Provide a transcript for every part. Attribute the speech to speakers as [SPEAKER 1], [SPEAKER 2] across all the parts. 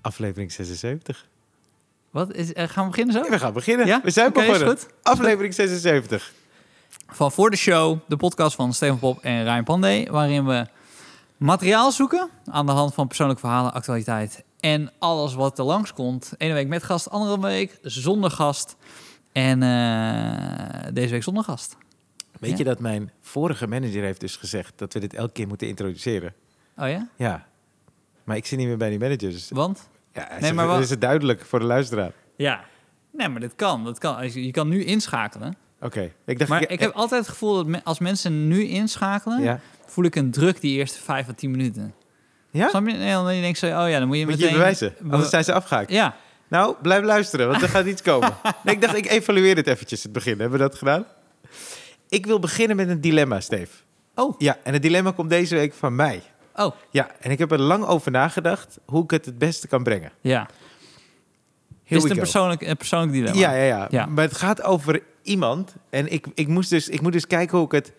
[SPEAKER 1] Aflevering 76.
[SPEAKER 2] Wat? Is, eh, gaan we beginnen zo?
[SPEAKER 1] We gaan beginnen.
[SPEAKER 2] Ja?
[SPEAKER 1] We zijn
[SPEAKER 2] Oké, is
[SPEAKER 1] begonnen.
[SPEAKER 2] goed.
[SPEAKER 1] Aflevering 76.
[SPEAKER 2] Van Voor de Show, de podcast van Steven Pop en Ryan Pandey, waarin we materiaal zoeken aan de hand van persoonlijke verhalen, actualiteit en alles wat er langskomt. Ene week met gast, andere week zonder gast en eh, deze week zonder gast.
[SPEAKER 1] Weet
[SPEAKER 2] Ja.
[SPEAKER 1] je dat mijn vorige manager heeft dus gezegd dat we dit elke keer moeten introduceren?
[SPEAKER 2] Oh ja?
[SPEAKER 1] Ja. Maar ik zit niet meer bij die managers.
[SPEAKER 2] Want?
[SPEAKER 1] Ja, hij
[SPEAKER 2] Nee,
[SPEAKER 1] zegt,
[SPEAKER 2] maar wat-
[SPEAKER 1] dan is het duidelijk voor de luisteraar.
[SPEAKER 2] Ja. Nee, maar dit kan. Dat kan. Als Je je kan nu inschakelen.
[SPEAKER 1] Oké. Ik dacht...
[SPEAKER 2] Maar ik heb altijd het gevoel dat me- als mensen nu inschakelen,
[SPEAKER 1] Ja.
[SPEAKER 2] voel ik een druk die eerste 5 à 10 minuten.
[SPEAKER 1] Ja?
[SPEAKER 2] Snap je? Nee, dan denk ik zo, oh ja, dan moet je
[SPEAKER 1] Moet je
[SPEAKER 2] meteen...
[SPEAKER 1] je bewijzen.
[SPEAKER 2] Be-
[SPEAKER 1] Anders zijn ze afgehaakt.
[SPEAKER 2] Ja,
[SPEAKER 1] Nou, blijf luisteren, want er gaat iets komen. Nee, ik dacht, ik evalueer dit eventjes, het begin. Hebben we dat gedaan? Ik wil beginnen met een dilemma, Steve.
[SPEAKER 2] Oh,
[SPEAKER 1] Ja, en het dilemma komt deze week van mij.
[SPEAKER 2] oh,
[SPEAKER 1] Ja, en ik heb er lang over nagedacht hoe ik het het beste kan brengen.
[SPEAKER 2] ja.
[SPEAKER 1] Here we
[SPEAKER 2] is het een
[SPEAKER 1] go.
[SPEAKER 2] persoonlijk, een persoonlijk dilemma?
[SPEAKER 1] Ja, ja, ja,
[SPEAKER 2] Ja.
[SPEAKER 1] Maar het gaat over iemand. En ik, ik, moest dus, ik moet dus kijken hoe ik het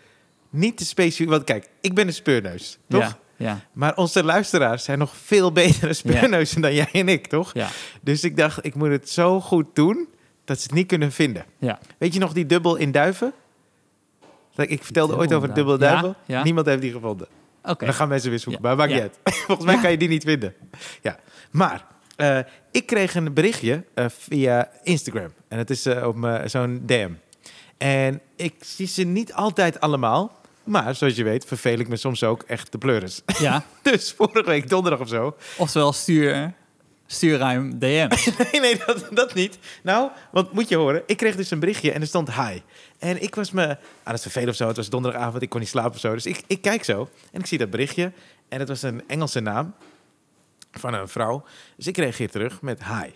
[SPEAKER 1] niet te specifiek... Want kijk, ik ben een speurneus, toch?
[SPEAKER 2] Ja, ja,
[SPEAKER 1] Maar onze luisteraars zijn nog veel betere speurneuzen dan jij en ik, toch?
[SPEAKER 2] ja,
[SPEAKER 1] Dus ik dacht, ik moet het zo goed doen dat ze het niet kunnen vinden.
[SPEAKER 2] ja.
[SPEAKER 1] Weet je nog die dubbel in duiven? Dat Ik vertelde
[SPEAKER 2] dubbel
[SPEAKER 1] ooit
[SPEAKER 2] in
[SPEAKER 1] over een dubbel
[SPEAKER 2] duiven.
[SPEAKER 1] duivel.
[SPEAKER 2] Ja, ja.
[SPEAKER 1] Niemand heeft die gevonden.
[SPEAKER 2] Oké.
[SPEAKER 1] Dan gaan mensen weer zoeken.
[SPEAKER 2] Ja.
[SPEAKER 1] Maar maakt
[SPEAKER 2] Ja.
[SPEAKER 1] niet uit. Volgens mij
[SPEAKER 2] Ja.
[SPEAKER 1] kan je die niet vinden. Ja. Maar eh, ik kreeg een berichtje eh, via Instagram. En het is eh, op mijn- zo'n DM. En ik zie ze niet altijd allemaal. Maar zoals je weet, vervel ik me soms ook echt de pleuris.
[SPEAKER 2] Ja,
[SPEAKER 1] Dus vorige week donderdag of zo.
[SPEAKER 2] oftewel stuur, stuur ruim DM.
[SPEAKER 1] Nee, nee, dat, dat niet. Nou, want moet je horen. Ik kreeg dus een berichtje en er stond hi. En ik was me ah, aan het vervelen of zo. Het was donderdagavond, ik kon niet slapen of zo. Dus ik, ik kijk zo en ik zie dat berichtje. En het was een Engelse naam van een vrouw. Dus ik reageer terug met hi.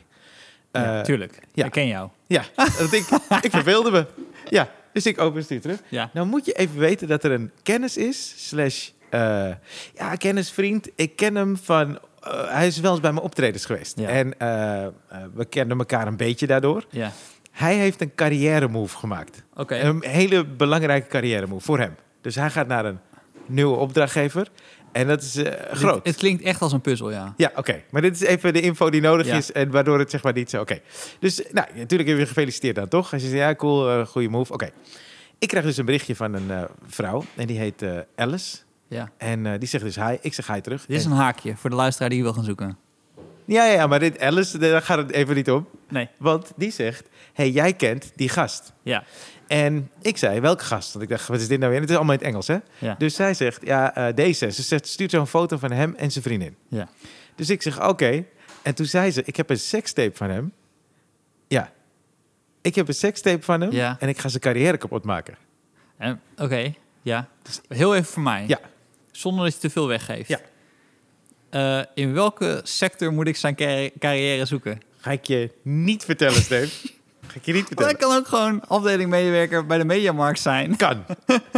[SPEAKER 2] ja,
[SPEAKER 1] Eh,
[SPEAKER 2] tuurlijk,
[SPEAKER 1] ja.
[SPEAKER 2] ik ken jou.
[SPEAKER 1] ja, want ik, ik verveelde me. Ja, dus ik openstuur terug.
[SPEAKER 2] Ja.
[SPEAKER 1] Nou moet je even weten dat er een kennis is, slash, eh, ja, kennisvriend. Ik ken hem van, eh, hij is wel eens bij mijn optredens geweest.
[SPEAKER 2] Ja.
[SPEAKER 1] En eh, eh, we kenden elkaar een beetje daardoor.
[SPEAKER 2] Ja,
[SPEAKER 1] Hij heeft een carrière move gemaakt.
[SPEAKER 2] oké.
[SPEAKER 1] Een hele belangrijke carrière move voor hem. Dus hij gaat naar een nieuwe opdrachtgever. En dat is eh, groot.
[SPEAKER 2] Het, het klinkt echt als een puzzel, ja.
[SPEAKER 1] Ja, oké. Maar dit is even de info die nodig
[SPEAKER 2] Ja.
[SPEAKER 1] is en waardoor het zeg maar niet zo... Oké. Dus nou, natuurlijk heb je gefeliciteerd dan, toch? Als je zegt, ja, cool, eh, goede move. Oké. Ik krijg dus een berichtje van een eh, vrouw en die heet eh, Alice.
[SPEAKER 2] ja.
[SPEAKER 1] En eh, die zegt dus hi. Ik zeg hi terug.
[SPEAKER 2] Dit is
[SPEAKER 1] En-
[SPEAKER 2] een haakje voor de luisteraar die je wil gaan zoeken.
[SPEAKER 1] ja, ja, ja, maar dit Alice, eh, daar gaat het even niet om.
[SPEAKER 2] Nee,
[SPEAKER 1] Want die zegt, hey, jij kent die gast.
[SPEAKER 2] ja,
[SPEAKER 1] En ik zei, welke gast? Want ik dacht, wat is dit nou weer? En het is allemaal in het Engels, hè?
[SPEAKER 2] ja,
[SPEAKER 1] Dus zij zegt, ja, eh, deze. Ze zegt, stuurt zo'n foto van hem en zijn vriendin.
[SPEAKER 2] ja.
[SPEAKER 1] Dus ik zeg, oké. En toen zei ze, ik heb een sekstape van hem. Ja. Ik heb een sekstape van hem
[SPEAKER 2] Ja.
[SPEAKER 1] en ik ga zijn carrière kapot maken.
[SPEAKER 2] En- Ehm, Oké, ja. Dus Heel even voor mij.
[SPEAKER 1] Ja.
[SPEAKER 2] Zonder dat je te veel weggeeft.
[SPEAKER 1] Ja.
[SPEAKER 2] Eh, in welke sector moet ik zijn carri- carrière zoeken?
[SPEAKER 1] Ga ik je niet vertellen, Steve. Ga ik je niet
[SPEAKER 2] Maar
[SPEAKER 1] vertellen.
[SPEAKER 2] dat kan ook gewoon afdeling medewerker bij de Mediamarkt zijn.
[SPEAKER 1] Kan.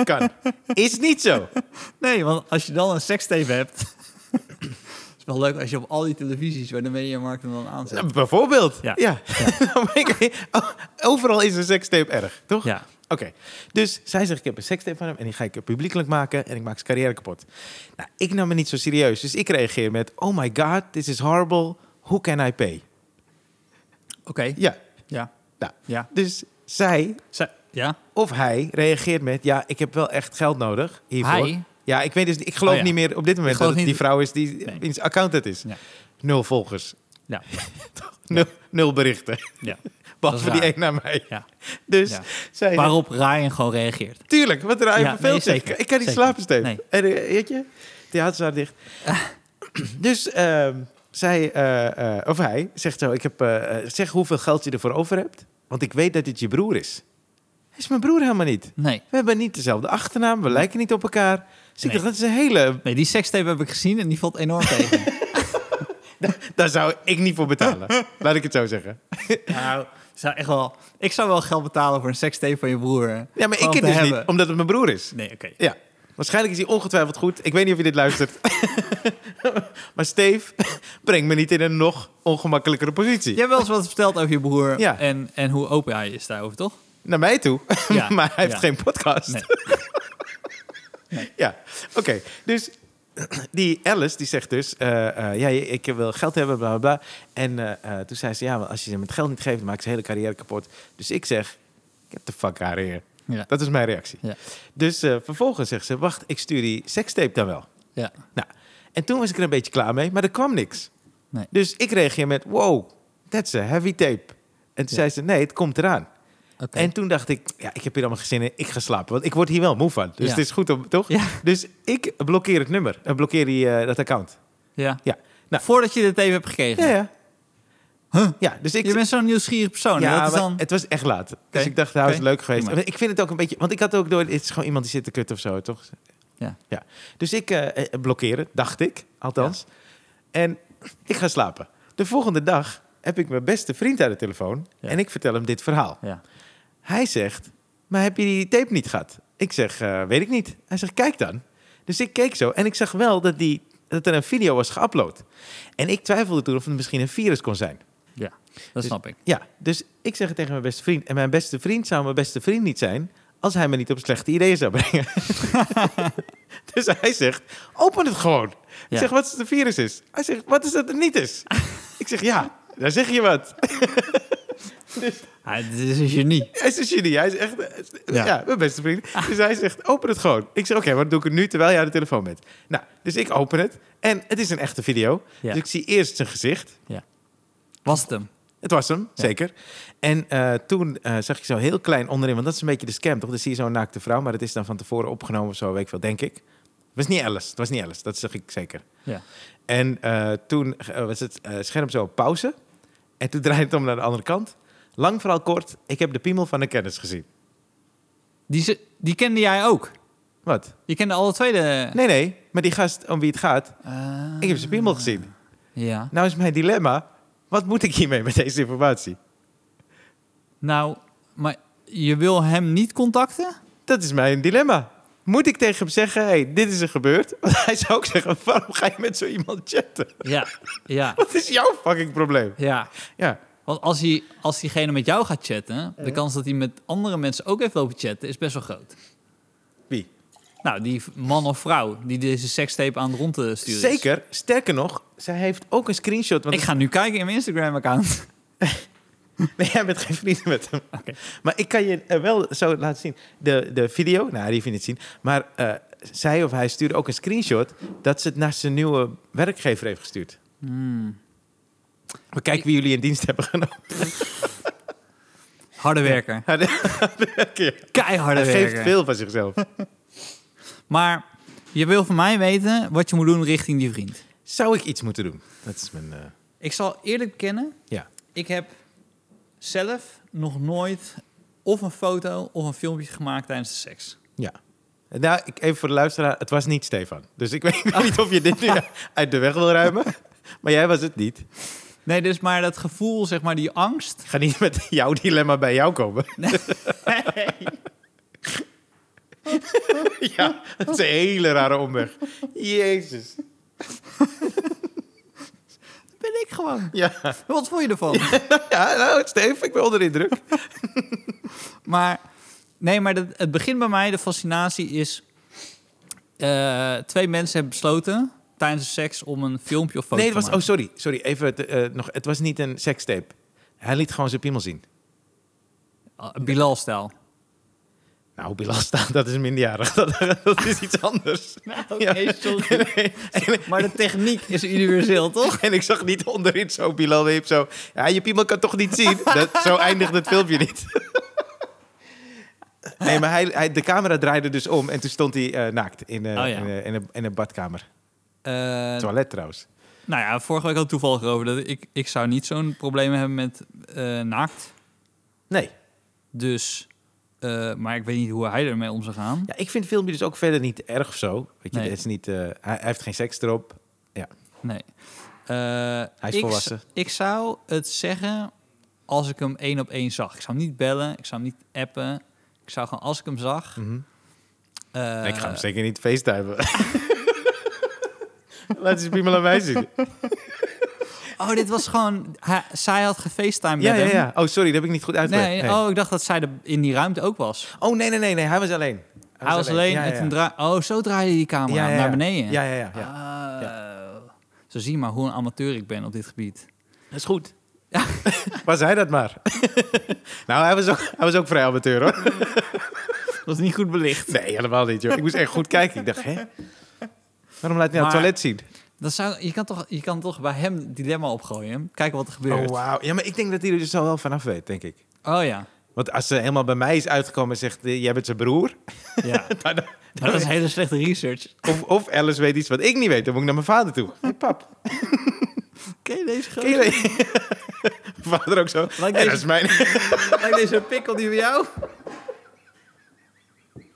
[SPEAKER 1] Kan. Is niet zo.
[SPEAKER 2] Nee, want als je dan een sekstape hebt... is wel leuk als je op al die televisies bij de Mediamarkt hem dan aanzet.
[SPEAKER 1] Nou, bijvoorbeeld. Ja.
[SPEAKER 2] Ja.
[SPEAKER 1] Maar ik- oh, Overal is een sekstape erg, toch?
[SPEAKER 2] Ja.
[SPEAKER 1] Oké. Dus zij zegt, ik heb een sekstape van hem en die ga ik publiekelijk maken en ik maak zijn carrière kapot. Nou, ik nam me niet zo serieus, dus ik reageer met, oh my god, this is horrible, who can I pay?
[SPEAKER 2] Oké,
[SPEAKER 1] Ja,
[SPEAKER 2] ja,
[SPEAKER 1] nou.
[SPEAKER 2] ja.
[SPEAKER 1] Dus zij
[SPEAKER 2] Zij- ja,
[SPEAKER 1] of hij reageert met, ja, ik heb wel echt geld nodig hiervoor.
[SPEAKER 2] Hij?
[SPEAKER 1] Ja, ik weet dus, ik geloof
[SPEAKER 2] Oh ja.
[SPEAKER 1] niet meer op dit moment
[SPEAKER 2] Ik geloof
[SPEAKER 1] dat het
[SPEAKER 2] niet-
[SPEAKER 1] die vrouw is die
[SPEAKER 2] Nee.
[SPEAKER 1] in zijn accountant is.
[SPEAKER 2] Ja.
[SPEAKER 1] Nul volgers,
[SPEAKER 2] ja,
[SPEAKER 1] nul, nul berichten,
[SPEAKER 2] ja.
[SPEAKER 1] behalve die
[SPEAKER 2] raar.
[SPEAKER 1] één naar mij.
[SPEAKER 2] ja.
[SPEAKER 1] Dus
[SPEAKER 2] Ja.
[SPEAKER 1] zij
[SPEAKER 2] Waarop Ryan gewoon reageert.
[SPEAKER 1] Tuurlijk, wat er
[SPEAKER 2] Ja,
[SPEAKER 1] eigenlijk veel
[SPEAKER 2] nee,
[SPEAKER 1] te-
[SPEAKER 2] zeker,
[SPEAKER 1] Ik kan niet
[SPEAKER 2] zeker.
[SPEAKER 1] slapen, Steven.
[SPEAKER 2] Nee. Ah.
[SPEAKER 1] En eh, weet je, theaterzaal dicht. Dus ehm, zij, eh, eh, of hij, zegt zo, ik heb, eh, eh, zeg hoeveel geld je ervoor over hebt. Want ik weet dat het je broer is. Hij is mijn broer helemaal niet.
[SPEAKER 2] Nee.
[SPEAKER 1] We hebben niet dezelfde achternaam, we lijken niet op elkaar. Dus ik
[SPEAKER 2] Nee.
[SPEAKER 1] dacht, dat is een hele...
[SPEAKER 2] Nee, die sekstape heb ik gezien en die valt enorm tegen.
[SPEAKER 1] Daar zou ik niet voor betalen. Laat ik het zo zeggen.
[SPEAKER 2] nou, zou echt wel, ik zou wel geld betalen voor een sekstape van je broer.
[SPEAKER 1] Ja, maar ik
[SPEAKER 2] Gewoon
[SPEAKER 1] ken
[SPEAKER 2] te
[SPEAKER 1] dus
[SPEAKER 2] hebben.
[SPEAKER 1] niet, omdat het mijn broer is.
[SPEAKER 2] Nee, oké.
[SPEAKER 1] Ja, waarschijnlijk is hij ongetwijfeld goed. Ik weet niet of je dit luistert. maar Steve, breng me niet in een nog ongemakkelijkere positie.
[SPEAKER 2] Jij hebt wel eens wat verteld over je broer
[SPEAKER 1] Ja.
[SPEAKER 2] en, en hoe open hij is daarover, toch?
[SPEAKER 1] naar mij toe.
[SPEAKER 2] Ja,
[SPEAKER 1] maar hij heeft
[SPEAKER 2] ja.
[SPEAKER 1] geen podcast.
[SPEAKER 2] Nee.
[SPEAKER 1] Ja, oké. Dus die Alice die zegt dus, eh, eh, ja, ik wil geld hebben, bla bla bla. En eh, eh, toen zei ze, ja, maar als je ze met geld niet geeft, dan maakt ze hele carrière kapot. Dus ik zeg, get the fuck out of here.
[SPEAKER 2] Ja.
[SPEAKER 1] Dat is mijn reactie.
[SPEAKER 2] Ja.
[SPEAKER 1] Dus eh, vervolgens zegt ze, wacht, ik stuur die sekstape dan wel.
[SPEAKER 2] Ja.
[SPEAKER 1] Nou, en toen was ik er een beetje klaar mee, maar er kwam niks.
[SPEAKER 2] Nee.
[SPEAKER 1] Dus ik reageer met, wow, that's a heavy tape. En toen
[SPEAKER 2] Ja.
[SPEAKER 1] zei ze, nee, het komt eraan.
[SPEAKER 2] Oké.
[SPEAKER 1] En toen dacht ik, ja, ik heb hier allemaal gezinnen, ik ga slapen. Want ik word hier wel moe van. Dus
[SPEAKER 2] Ja.
[SPEAKER 1] het is goed om, toch?
[SPEAKER 2] Ja.
[SPEAKER 1] Dus ik blokkeer het nummer. en blokkeer die, eh, dat account.
[SPEAKER 2] Ja.
[SPEAKER 1] Ja. Nou.
[SPEAKER 2] Voordat je dit even hebt gekregen.
[SPEAKER 1] Ja, ja.
[SPEAKER 2] Huh?
[SPEAKER 1] Ja, dus ik...
[SPEAKER 2] Je bent zo'n nieuwsgierig persoon. hè?
[SPEAKER 1] ja,
[SPEAKER 2] dat is
[SPEAKER 1] maar
[SPEAKER 2] dan...
[SPEAKER 1] het was echt laat.
[SPEAKER 2] Oké.
[SPEAKER 1] Dus ik dacht, nou is het
[SPEAKER 2] Oké.
[SPEAKER 1] leuk geweest.
[SPEAKER 2] Prima.
[SPEAKER 1] Ik vind het ook een beetje... Want ik had ook door, het is gewoon iemand die zit te kut of zo, toch?
[SPEAKER 2] Ja.
[SPEAKER 1] ja. Dus ik eh, eh, blokkeer het, dacht ik, althans. En ik ga slapen. De volgende dag heb ik mijn beste vriend aan de telefoon.
[SPEAKER 2] Ja.
[SPEAKER 1] En ik vertel hem dit verhaal.
[SPEAKER 2] Ja.
[SPEAKER 1] Hij zegt, maar heb je die tape niet gehad? Ik zeg, eh, weet ik niet. Hij zegt, kijk dan. Dus ik keek zo en ik zag wel dat, die, dat er een video was geüpload. En ik twijfelde toen of het misschien een virus kon zijn.
[SPEAKER 2] ja, dat
[SPEAKER 1] Dus-
[SPEAKER 2] snap ik.
[SPEAKER 1] Ja, dus ik zeg het tegen mijn beste vriend. En mijn beste vriend zou mijn beste vriend niet zijn... als hij me niet op slechte ideeën zou brengen. dus hij zegt, open het gewoon.
[SPEAKER 2] Ja.
[SPEAKER 1] Ik zeg, wat is de virus is? Hij zegt, wat is dat het niet is? ik zeg, ja, daar zeg je wat.
[SPEAKER 2] Ah, dit is een genie.
[SPEAKER 1] Hij is een genie. Hij is echt...
[SPEAKER 2] Ja.
[SPEAKER 1] Ja, mijn beste vriend. Dus hij zegt, open het gewoon. Ik zeg, oké, maar dan doe ik het nu terwijl jij aan de telefoon bent. Nou, dus ik open het. En het is een echte video.
[SPEAKER 2] Ja.
[SPEAKER 1] Dus ik zie eerst zijn gezicht.
[SPEAKER 2] Was het hem?
[SPEAKER 1] Het was hem, zeker. En eh, toen eh, zag ik zo heel klein onderin, want dat is een beetje de scam, toch? Dan zie je zo'n naakte vrouw, maar dat is dan van tevoren opgenomen of zo, weet ik veel, denk ik. Het was niet Alice, het was niet Alice, dat zeg ik zeker.
[SPEAKER 2] Ja.
[SPEAKER 1] En eh, toen eh, was het eh, scherm zo op pauze. En toen draaide het om naar de andere kant. Lang vooral kort, ik heb de piemel van een kennis gezien.
[SPEAKER 2] Die, ze- die kende jij ook.
[SPEAKER 1] Wat?
[SPEAKER 2] Je kende alle twee de...
[SPEAKER 1] Nee, nee, maar die gast om wie het gaat,
[SPEAKER 2] Eh,
[SPEAKER 1] ik heb zijn piemel gezien.
[SPEAKER 2] ja.
[SPEAKER 1] Nou is mijn dilemma, wat moet ik hiermee met deze informatie?
[SPEAKER 2] Nou, maar je wil hem niet contacten?
[SPEAKER 1] Dat is mijn dilemma. Moet ik tegen hem zeggen, hey, dit is er gebeurd? Want hij zou ook zeggen, waarom ga je met zo iemand chatten?
[SPEAKER 2] Ja. Ja.
[SPEAKER 1] Wat is jouw fucking probleem?
[SPEAKER 2] Ja.
[SPEAKER 1] Ja,
[SPEAKER 2] Want als, hij, als diegene met jou gaat chatten, de kans dat hij met andere mensen ook heeft lopen chatten is best wel groot.
[SPEAKER 1] wie?
[SPEAKER 2] Nou, die v- man of vrouw die deze sekstape aan het rond te sturen is.
[SPEAKER 1] Zeker, sterker nog, zij heeft ook een screenshot. Want
[SPEAKER 2] Ik ga nu kijken in mijn Instagram-account.
[SPEAKER 1] Nee, jij bent geen vrienden met hem.
[SPEAKER 2] Oké.
[SPEAKER 1] Maar ik kan je eh, wel zo laten zien. De, de video, nou, die vind je niet zien. Maar eh, zij of hij stuurde ook een screenshot... dat ze het naar zijn nieuwe werkgever heeft gestuurd.
[SPEAKER 2] Hmm.
[SPEAKER 1] We kijken wie jullie in dienst hebben genomen.
[SPEAKER 2] Oh, Harde werker. Keiharde
[SPEAKER 1] Hij
[SPEAKER 2] werker.
[SPEAKER 1] geeft veel van zichzelf.
[SPEAKER 2] Maar je wil van mij weten wat je moet doen richting die vriend.
[SPEAKER 1] Zou ik iets moeten doen? Dat is mijn... eh,
[SPEAKER 2] Ik zal eerlijk bekennen,
[SPEAKER 1] Ja.
[SPEAKER 2] ik heb zelf nog nooit of een foto of een filmpje gemaakt tijdens de seks.
[SPEAKER 1] Ja. Nou, ik, even voor de luisteraar. Het was niet Stefan. Dus ik weet, ik weet niet of je dit nu uit de weg wil ruimen. Maar jij was het niet.
[SPEAKER 2] Nee, dus maar dat gevoel, zeg maar, die angst.
[SPEAKER 1] Ik ga niet met jouw dilemma bij jou komen. ja, dat is een hele rare omweg. Jezus.
[SPEAKER 2] ben ik gewoon.
[SPEAKER 1] Ja,
[SPEAKER 2] Wat vond je ervan?
[SPEAKER 1] ja nou, Stef, ik ben onder de indruk.
[SPEAKER 2] Maar nee, maar dat, het begint bij mij, de fascinatie is... eh, twee mensen hebben besloten tijdens de seks om een filmpje of foto
[SPEAKER 1] Nee, het was...
[SPEAKER 2] te maken.
[SPEAKER 1] Oh, sorry. Sorry, even het, eh, nog. Het was niet een sekstape. Hij liet gewoon zijn piemel zien.
[SPEAKER 2] Ah, Bilal-stijl.
[SPEAKER 1] Nou, Bilal staat, dat is minderjarig. Dat, dat is iets anders. Ja.
[SPEAKER 2] sorry. Maar de techniek is universeel, toch?
[SPEAKER 1] En ik zag niet onderin zo Bilal Weep zo... Ja, je piemel kan toch niet zien? Dat, zo eindigt het filmpje niet. Nee, maar hij, hij, de camera draaide dus om en toen stond hij eh, naakt in, eh,
[SPEAKER 2] Oh ja.
[SPEAKER 1] in, eh, in een, in een badkamer.
[SPEAKER 2] Eh,
[SPEAKER 1] Toilet trouwens.
[SPEAKER 2] nou ja, vorige week had ik toevallig over dat ik, ik zou niet zo'n probleem hebben met eh, naakt.
[SPEAKER 1] Nee.
[SPEAKER 2] Dus, eh, maar ik weet niet hoe hij ermee om zou gaan.
[SPEAKER 1] Ja, ik vind het filmpje dus ook verder niet erg of zo. Weet je,
[SPEAKER 2] Nee.
[SPEAKER 1] het is niet, eh, hij, hij heeft geen seks erop.
[SPEAKER 2] Nee. Eh,
[SPEAKER 1] Hij is
[SPEAKER 2] ik,
[SPEAKER 1] volwassen.
[SPEAKER 2] Ik zou het zeggen als ik hem één op één zag. Ik zou hem niet bellen, ik zou hem niet appen. Ik zou gewoon als ik hem zag.
[SPEAKER 1] Mhm.
[SPEAKER 2] eh,
[SPEAKER 1] Nee, ik ga hem zeker niet facetimen. Laat eens piemel aan mij zien.
[SPEAKER 2] Oh, dit was gewoon... ha- zij had gefacetimed
[SPEAKER 1] Ja,
[SPEAKER 2] met
[SPEAKER 1] ja,
[SPEAKER 2] hem.
[SPEAKER 1] ja. Oh, sorry, dat heb ik niet goed uitgelegd.
[SPEAKER 2] Nee,
[SPEAKER 1] Nee.
[SPEAKER 2] oh, ik dacht dat zij er in die ruimte ook was.
[SPEAKER 1] Oh, nee, nee, nee, nee. Hij was alleen.
[SPEAKER 2] Hij was alleen
[SPEAKER 1] Ja,
[SPEAKER 2] en
[SPEAKER 1] ja,
[SPEAKER 2] toen
[SPEAKER 1] ja.
[SPEAKER 2] draai- Oh, zo draaide die camera
[SPEAKER 1] Ja, ja, ja.
[SPEAKER 2] naar beneden.
[SPEAKER 1] Ja, ja, ja. ja.
[SPEAKER 2] Ah, Zo zie je maar hoe een amateur ik ben op dit gebied.
[SPEAKER 1] Dat is goed. Was hij dat maar? nou, hij was, ook, hij was ook vrij amateur hoor.
[SPEAKER 2] Dat is niet goed belicht.
[SPEAKER 1] Nee, helemaal niet joh. Ik moest echt goed kijken. Ik dacht, hè? Waarom laat hij nou
[SPEAKER 2] Maar-
[SPEAKER 1] het toilet zien?
[SPEAKER 2] Dat zou, je, kan toch, je kan toch bij hem het dilemma opgooien. Kijken wat er
[SPEAKER 1] Oh,
[SPEAKER 2] gebeurt. Oh,
[SPEAKER 1] wauw. Ja, maar ik denk dat hij er dus al wel vanaf weet, denk ik.
[SPEAKER 2] ja.
[SPEAKER 1] Want als ze helemaal bij mij is uitgekomen en zegt, eh, jij bent zijn broer.
[SPEAKER 2] ja.
[SPEAKER 1] dan-
[SPEAKER 2] Maar dat is hele slechte research.
[SPEAKER 1] Of, of Alice weet iets wat ik niet weet. Dan moet ik naar mijn vader toe. Hé, hey, pap.
[SPEAKER 2] Ken je deze
[SPEAKER 1] Ken je dat? Mijn vader ook zo.
[SPEAKER 2] Lijkt
[SPEAKER 1] "Ja, dat
[SPEAKER 2] deze-
[SPEAKER 1] is mijn...
[SPEAKER 2] Lijkt deze pikkel die bij jou?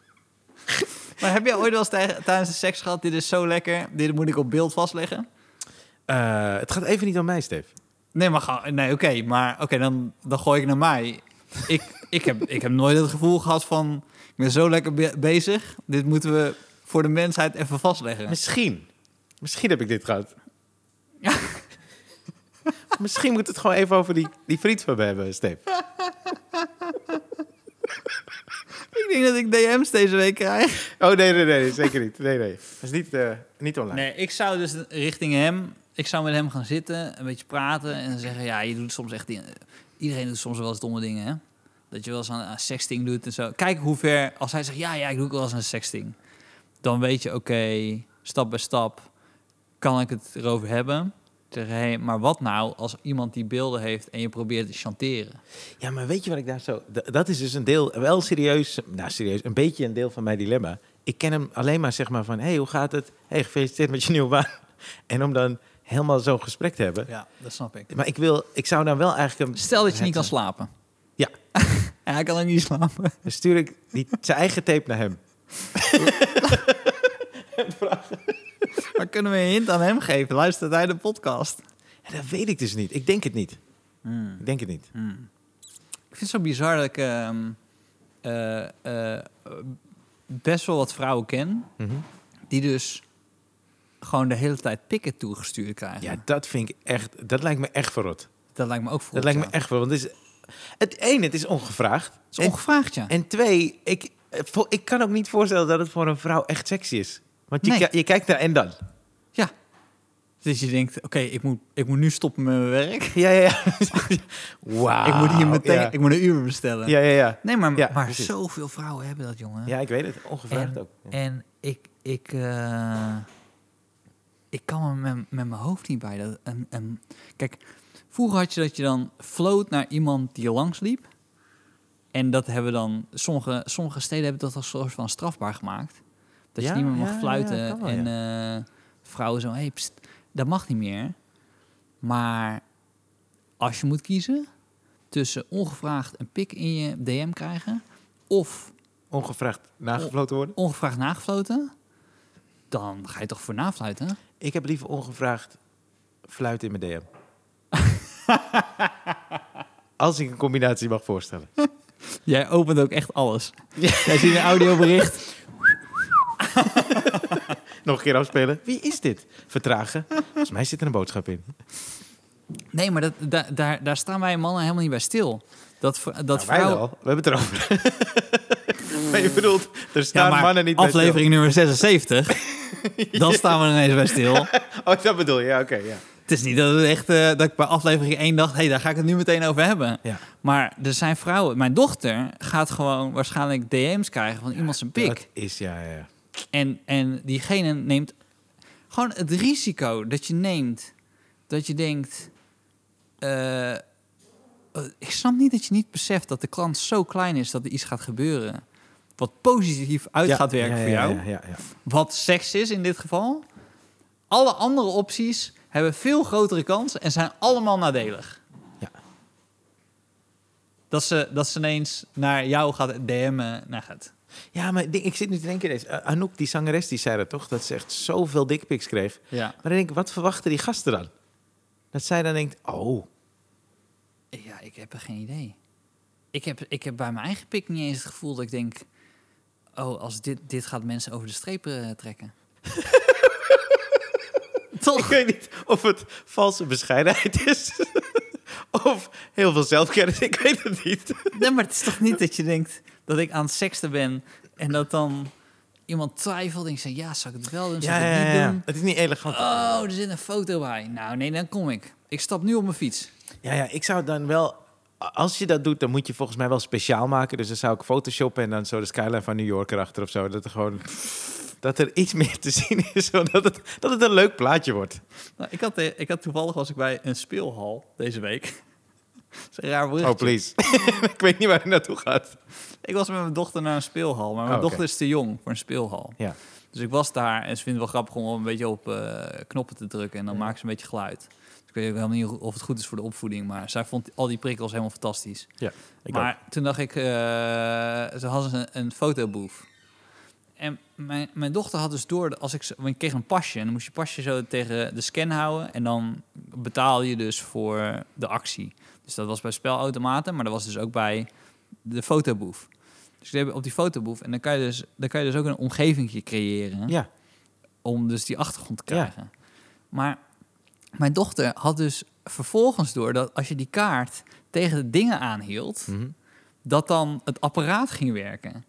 [SPEAKER 2] Maar heb jij ooit wel eens tij- tijdens de seks gehad... dit is zo lekker, dit moet ik op beeld vastleggen?
[SPEAKER 1] Eh, het gaat even niet om mij, Steve.
[SPEAKER 2] Nee, maar gewoon- nee, oké, maar oké, dan, dan gooi ik naar mij. Ik, ik, heb, ik heb nooit het gevoel gehad van, ik ben zo lekker be- bezig. Dit moeten we voor de mensheid even vastleggen.
[SPEAKER 1] Misschien. Misschien heb ik dit gehad. Misschien moet het gewoon even over die, die vriend van me hebben, Steve.
[SPEAKER 2] Ik denk dat ik DM's deze week krijg.
[SPEAKER 1] Oh, nee, nee, nee, zeker niet. Nee, nee. Dat is niet, eh, niet online.
[SPEAKER 2] Nee, ik zou dus richting hem, ik zou met hem gaan zitten, een beetje praten en zeggen, ja, je doet soms echt, dingen- iedereen doet soms wel eens domme dingen, hè? Dat je wel eens aan, aan sexting doet en zo. Kijk hoe ver, als hij zegt, ja, ja, ik doe ook wel eens een sexting. Dan weet je, oké, stap bij stap, kan ik het erover hebben? Zeggen, hey, maar wat nou als iemand die beelden heeft en je probeert te chanteren?
[SPEAKER 1] Ja, maar weet je wat ik daar zo... D- dat is dus een deel, wel serieus... Nou, serieus, een beetje een deel van mijn dilemma. Ik ken hem alleen maar zeg maar van... Hé, hey, hoe gaat het? Hé, hey, gefeliciteerd met je nieuwe baan. En om dan helemaal zo'n gesprek te hebben.
[SPEAKER 2] Ja, dat snap ik.
[SPEAKER 1] Maar ik wil... Ik zou dan wel eigenlijk... Hem,
[SPEAKER 2] Stel dat je niet kan slapen.
[SPEAKER 1] Ja.
[SPEAKER 2] En hij kan ook niet slapen.
[SPEAKER 1] Dan stuur ik die, zijn eigen tape naar hem.
[SPEAKER 2] Maar kunnen we een hint aan hem geven? Luistert hij de podcast?
[SPEAKER 1] En dat weet ik dus niet. Ik denk het niet.
[SPEAKER 2] Hmm.
[SPEAKER 1] Ik denk het niet.
[SPEAKER 2] Ik vind het zo bizar dat ik ehm, eh, eh, best wel wat vrouwen ken
[SPEAKER 1] Mhm.
[SPEAKER 2] die dus gewoon de hele tijd pikken toegestuurd krijgen.
[SPEAKER 1] Ja, dat vind ik echt. Dat lijkt me echt verrot.
[SPEAKER 2] dat lijkt me ook voor.
[SPEAKER 1] Dat lijkt me echt verrot. Want het is. Het één, het is ongevraagd.
[SPEAKER 2] is ongevraagd, ja.
[SPEAKER 1] en, en twee, ik, eh, vo- ik kan ook niet voorstellen dat het voor een vrouw echt sexy is. Want je,
[SPEAKER 2] Nee.
[SPEAKER 1] ki- je kijkt naar en dan.
[SPEAKER 2] ja. Dus je denkt, oké, ik, moet, ik moet nu stoppen met mijn werk.
[SPEAKER 1] Ja, ja, ja. Wauw.
[SPEAKER 2] ik moet hier meteen,
[SPEAKER 1] Ah, Ja,
[SPEAKER 2] ik moet een uur bestellen.
[SPEAKER 1] ja, ja. Ja,
[SPEAKER 2] Nee, maar,
[SPEAKER 1] Ja,
[SPEAKER 2] maar
[SPEAKER 1] precies.
[SPEAKER 2] zoveel vrouwen hebben dat, jongen.
[SPEAKER 1] Ja, ik weet het. Ongevraagd
[SPEAKER 2] En,
[SPEAKER 1] ook. Ja.
[SPEAKER 2] en ik, ik, eh, ik kan er met, met mijn hoofd niet bij. Dat, een, een- kijk, vroeger had je dat je dan floot naar iemand die je langs liep. En dat hebben dan, sommige, sommige steden hebben dat als soort van strafbaar gemaakt. Dat
[SPEAKER 1] Ja,
[SPEAKER 2] je niet meer
[SPEAKER 1] ja, ja,
[SPEAKER 2] mag fluiten.
[SPEAKER 1] kan wel,
[SPEAKER 2] en eh, vrouwen zo, hey, pst, dat mag niet meer. Maar als je moet kiezen tussen ongevraagd een pik in je DM krijgen... of
[SPEAKER 1] Ongevraagd nagefloten worden.
[SPEAKER 2] ongevraagd nagefloten, dan ga je toch voor nafluiten?
[SPEAKER 1] Ik heb liever ongevraagd fluiten in mijn DM. Als ik een combinatie mag voorstellen.
[SPEAKER 2] Jij opent ook echt alles.
[SPEAKER 1] Ja.
[SPEAKER 2] Jij ziet een audiobericht.
[SPEAKER 1] Nog een keer afspelen. Wie is dit? Vertragen. Volgens mij zit er een boodschap in.
[SPEAKER 2] Nee, maar dat, da- daar, daar staan wij mannen helemaal niet bij stil. Dat, vr- dat
[SPEAKER 1] Nou, wij
[SPEAKER 2] vrouwen...
[SPEAKER 1] wel. We hebben het erover. maar je bedoelt, er
[SPEAKER 2] Ja,
[SPEAKER 1] staan
[SPEAKER 2] maar
[SPEAKER 1] mannen niet bij stil.
[SPEAKER 2] aflevering nummer 76, dan staan we er ineens bij stil.
[SPEAKER 1] Oh, dat bedoel je. Ja, oké. ja.
[SPEAKER 2] Het is niet dat, het echt, eh, dat ik bij aflevering 1 dacht, hé, hey, daar ga ik het nu meteen over hebben.
[SPEAKER 1] Ja.
[SPEAKER 2] Maar er zijn vrouwen... Mijn dochter gaat gewoon waarschijnlijk DM's krijgen van iemand zijn pik.
[SPEAKER 1] Dat is, ja, ja.
[SPEAKER 2] En, en diegene neemt gewoon het risico dat je neemt. Dat je denkt. eh, eh, ik snap niet dat je niet beseft dat de klant zo klein is dat er iets gaat gebeuren. Wat positief uit
[SPEAKER 1] Ja,
[SPEAKER 2] gaat werken
[SPEAKER 1] ja,
[SPEAKER 2] voor
[SPEAKER 1] ja,
[SPEAKER 2] jou.
[SPEAKER 1] Ja, ja, ja.
[SPEAKER 2] Wat seks is in dit geval. Alle andere opties hebben veel grotere kansen en zijn allemaal nadelig.
[SPEAKER 1] Ja.
[SPEAKER 2] Dat ze, dat ze ineens naar jou gaat DM'en. Nou gaat.
[SPEAKER 1] Ja, maar ik denk- ik zit nu te denken ineens. eh, Anouk, die zangeres, die zei dat toch? Dat ze echt zoveel dickpics kreeg.
[SPEAKER 2] Ja.
[SPEAKER 1] Maar dan denk ik, wat verwachten die gasten dan? Dat zij dan denkt, oh,
[SPEAKER 2] Ja, ik heb er geen idee. Ik heb, ik heb bij mijn eigen pik niet eens het gevoel dat ik denk... Oh, als dit, dit gaat mensen over de streep eh, trekken. toch?
[SPEAKER 1] Ik weet niet of het valse bescheidenheid is. of heel veel zelfkennis. Ik weet het niet.
[SPEAKER 2] Nee, maar het is toch niet dat je denkt dat ik aan het seksten ben en dat dan iemand twijfelt en ik zeg, ja, zou ik het wel doen, zou ik het niet doen?
[SPEAKER 1] Het is niet elegant.
[SPEAKER 2] Oh, er zit een foto bij. Nou, nee, dan kom ik. Ik stap nu op mijn fiets.
[SPEAKER 1] Ja, ja, ik zou dan wel... a- Als je dat doet, dan moet je volgens mij wel speciaal maken. Dus dan zou ik photoshoppen en dan zo de skyline van New York erachter of zo. Dat er gewoon... Dat er iets meer te zien is, zodat het, dat het een leuk plaatje wordt. Oh,
[SPEAKER 2] Nou, ik, had, eh, ik had toevallig was ik bij een speelhal deze week. Dat is een raar
[SPEAKER 1] Oh,
[SPEAKER 2] bruggetje.
[SPEAKER 1] please. ik weet niet waar het naartoe gaat.
[SPEAKER 2] ik was met mijn dochter naar een speelhal, maar mijn
[SPEAKER 1] Oh, oké.
[SPEAKER 2] dochter is te jong voor een speelhal.
[SPEAKER 1] Ja.
[SPEAKER 2] Dus ik was daar en ze vindt het wel grappig om een beetje op eh, knoppen te drukken en dan maakt ze een beetje geluid. Dus ik weet ook helemaal niet hoe- of het goed is voor de opvoeding, maar zij vond al die prikkels helemaal fantastisch.
[SPEAKER 1] ja ik
[SPEAKER 2] maar toen dacht ik, eh, ze hadden een, een fotoboef. En mijn, mijn dochter had dus door, dat als ik, ze- want ik kreeg een pasje en dan moest je pasje zo tegen de scan houden en dan betaal je dus voor de actie. Dus dat was bij spelautomaten, maar dat was dus ook bij de fotoboef. Dus ik deed op die fotoboef en dan kan je dus, dan kan je dus ook een omgeving creëren
[SPEAKER 1] ook. Ja.
[SPEAKER 2] om dus die achtergrond te
[SPEAKER 1] Ja.
[SPEAKER 2] krijgen. Maar mijn dochter had dus vervolgens door dat als je die kaart tegen de dingen aanhield,
[SPEAKER 1] Mhm.
[SPEAKER 2] dat dan het apparaat ging werken.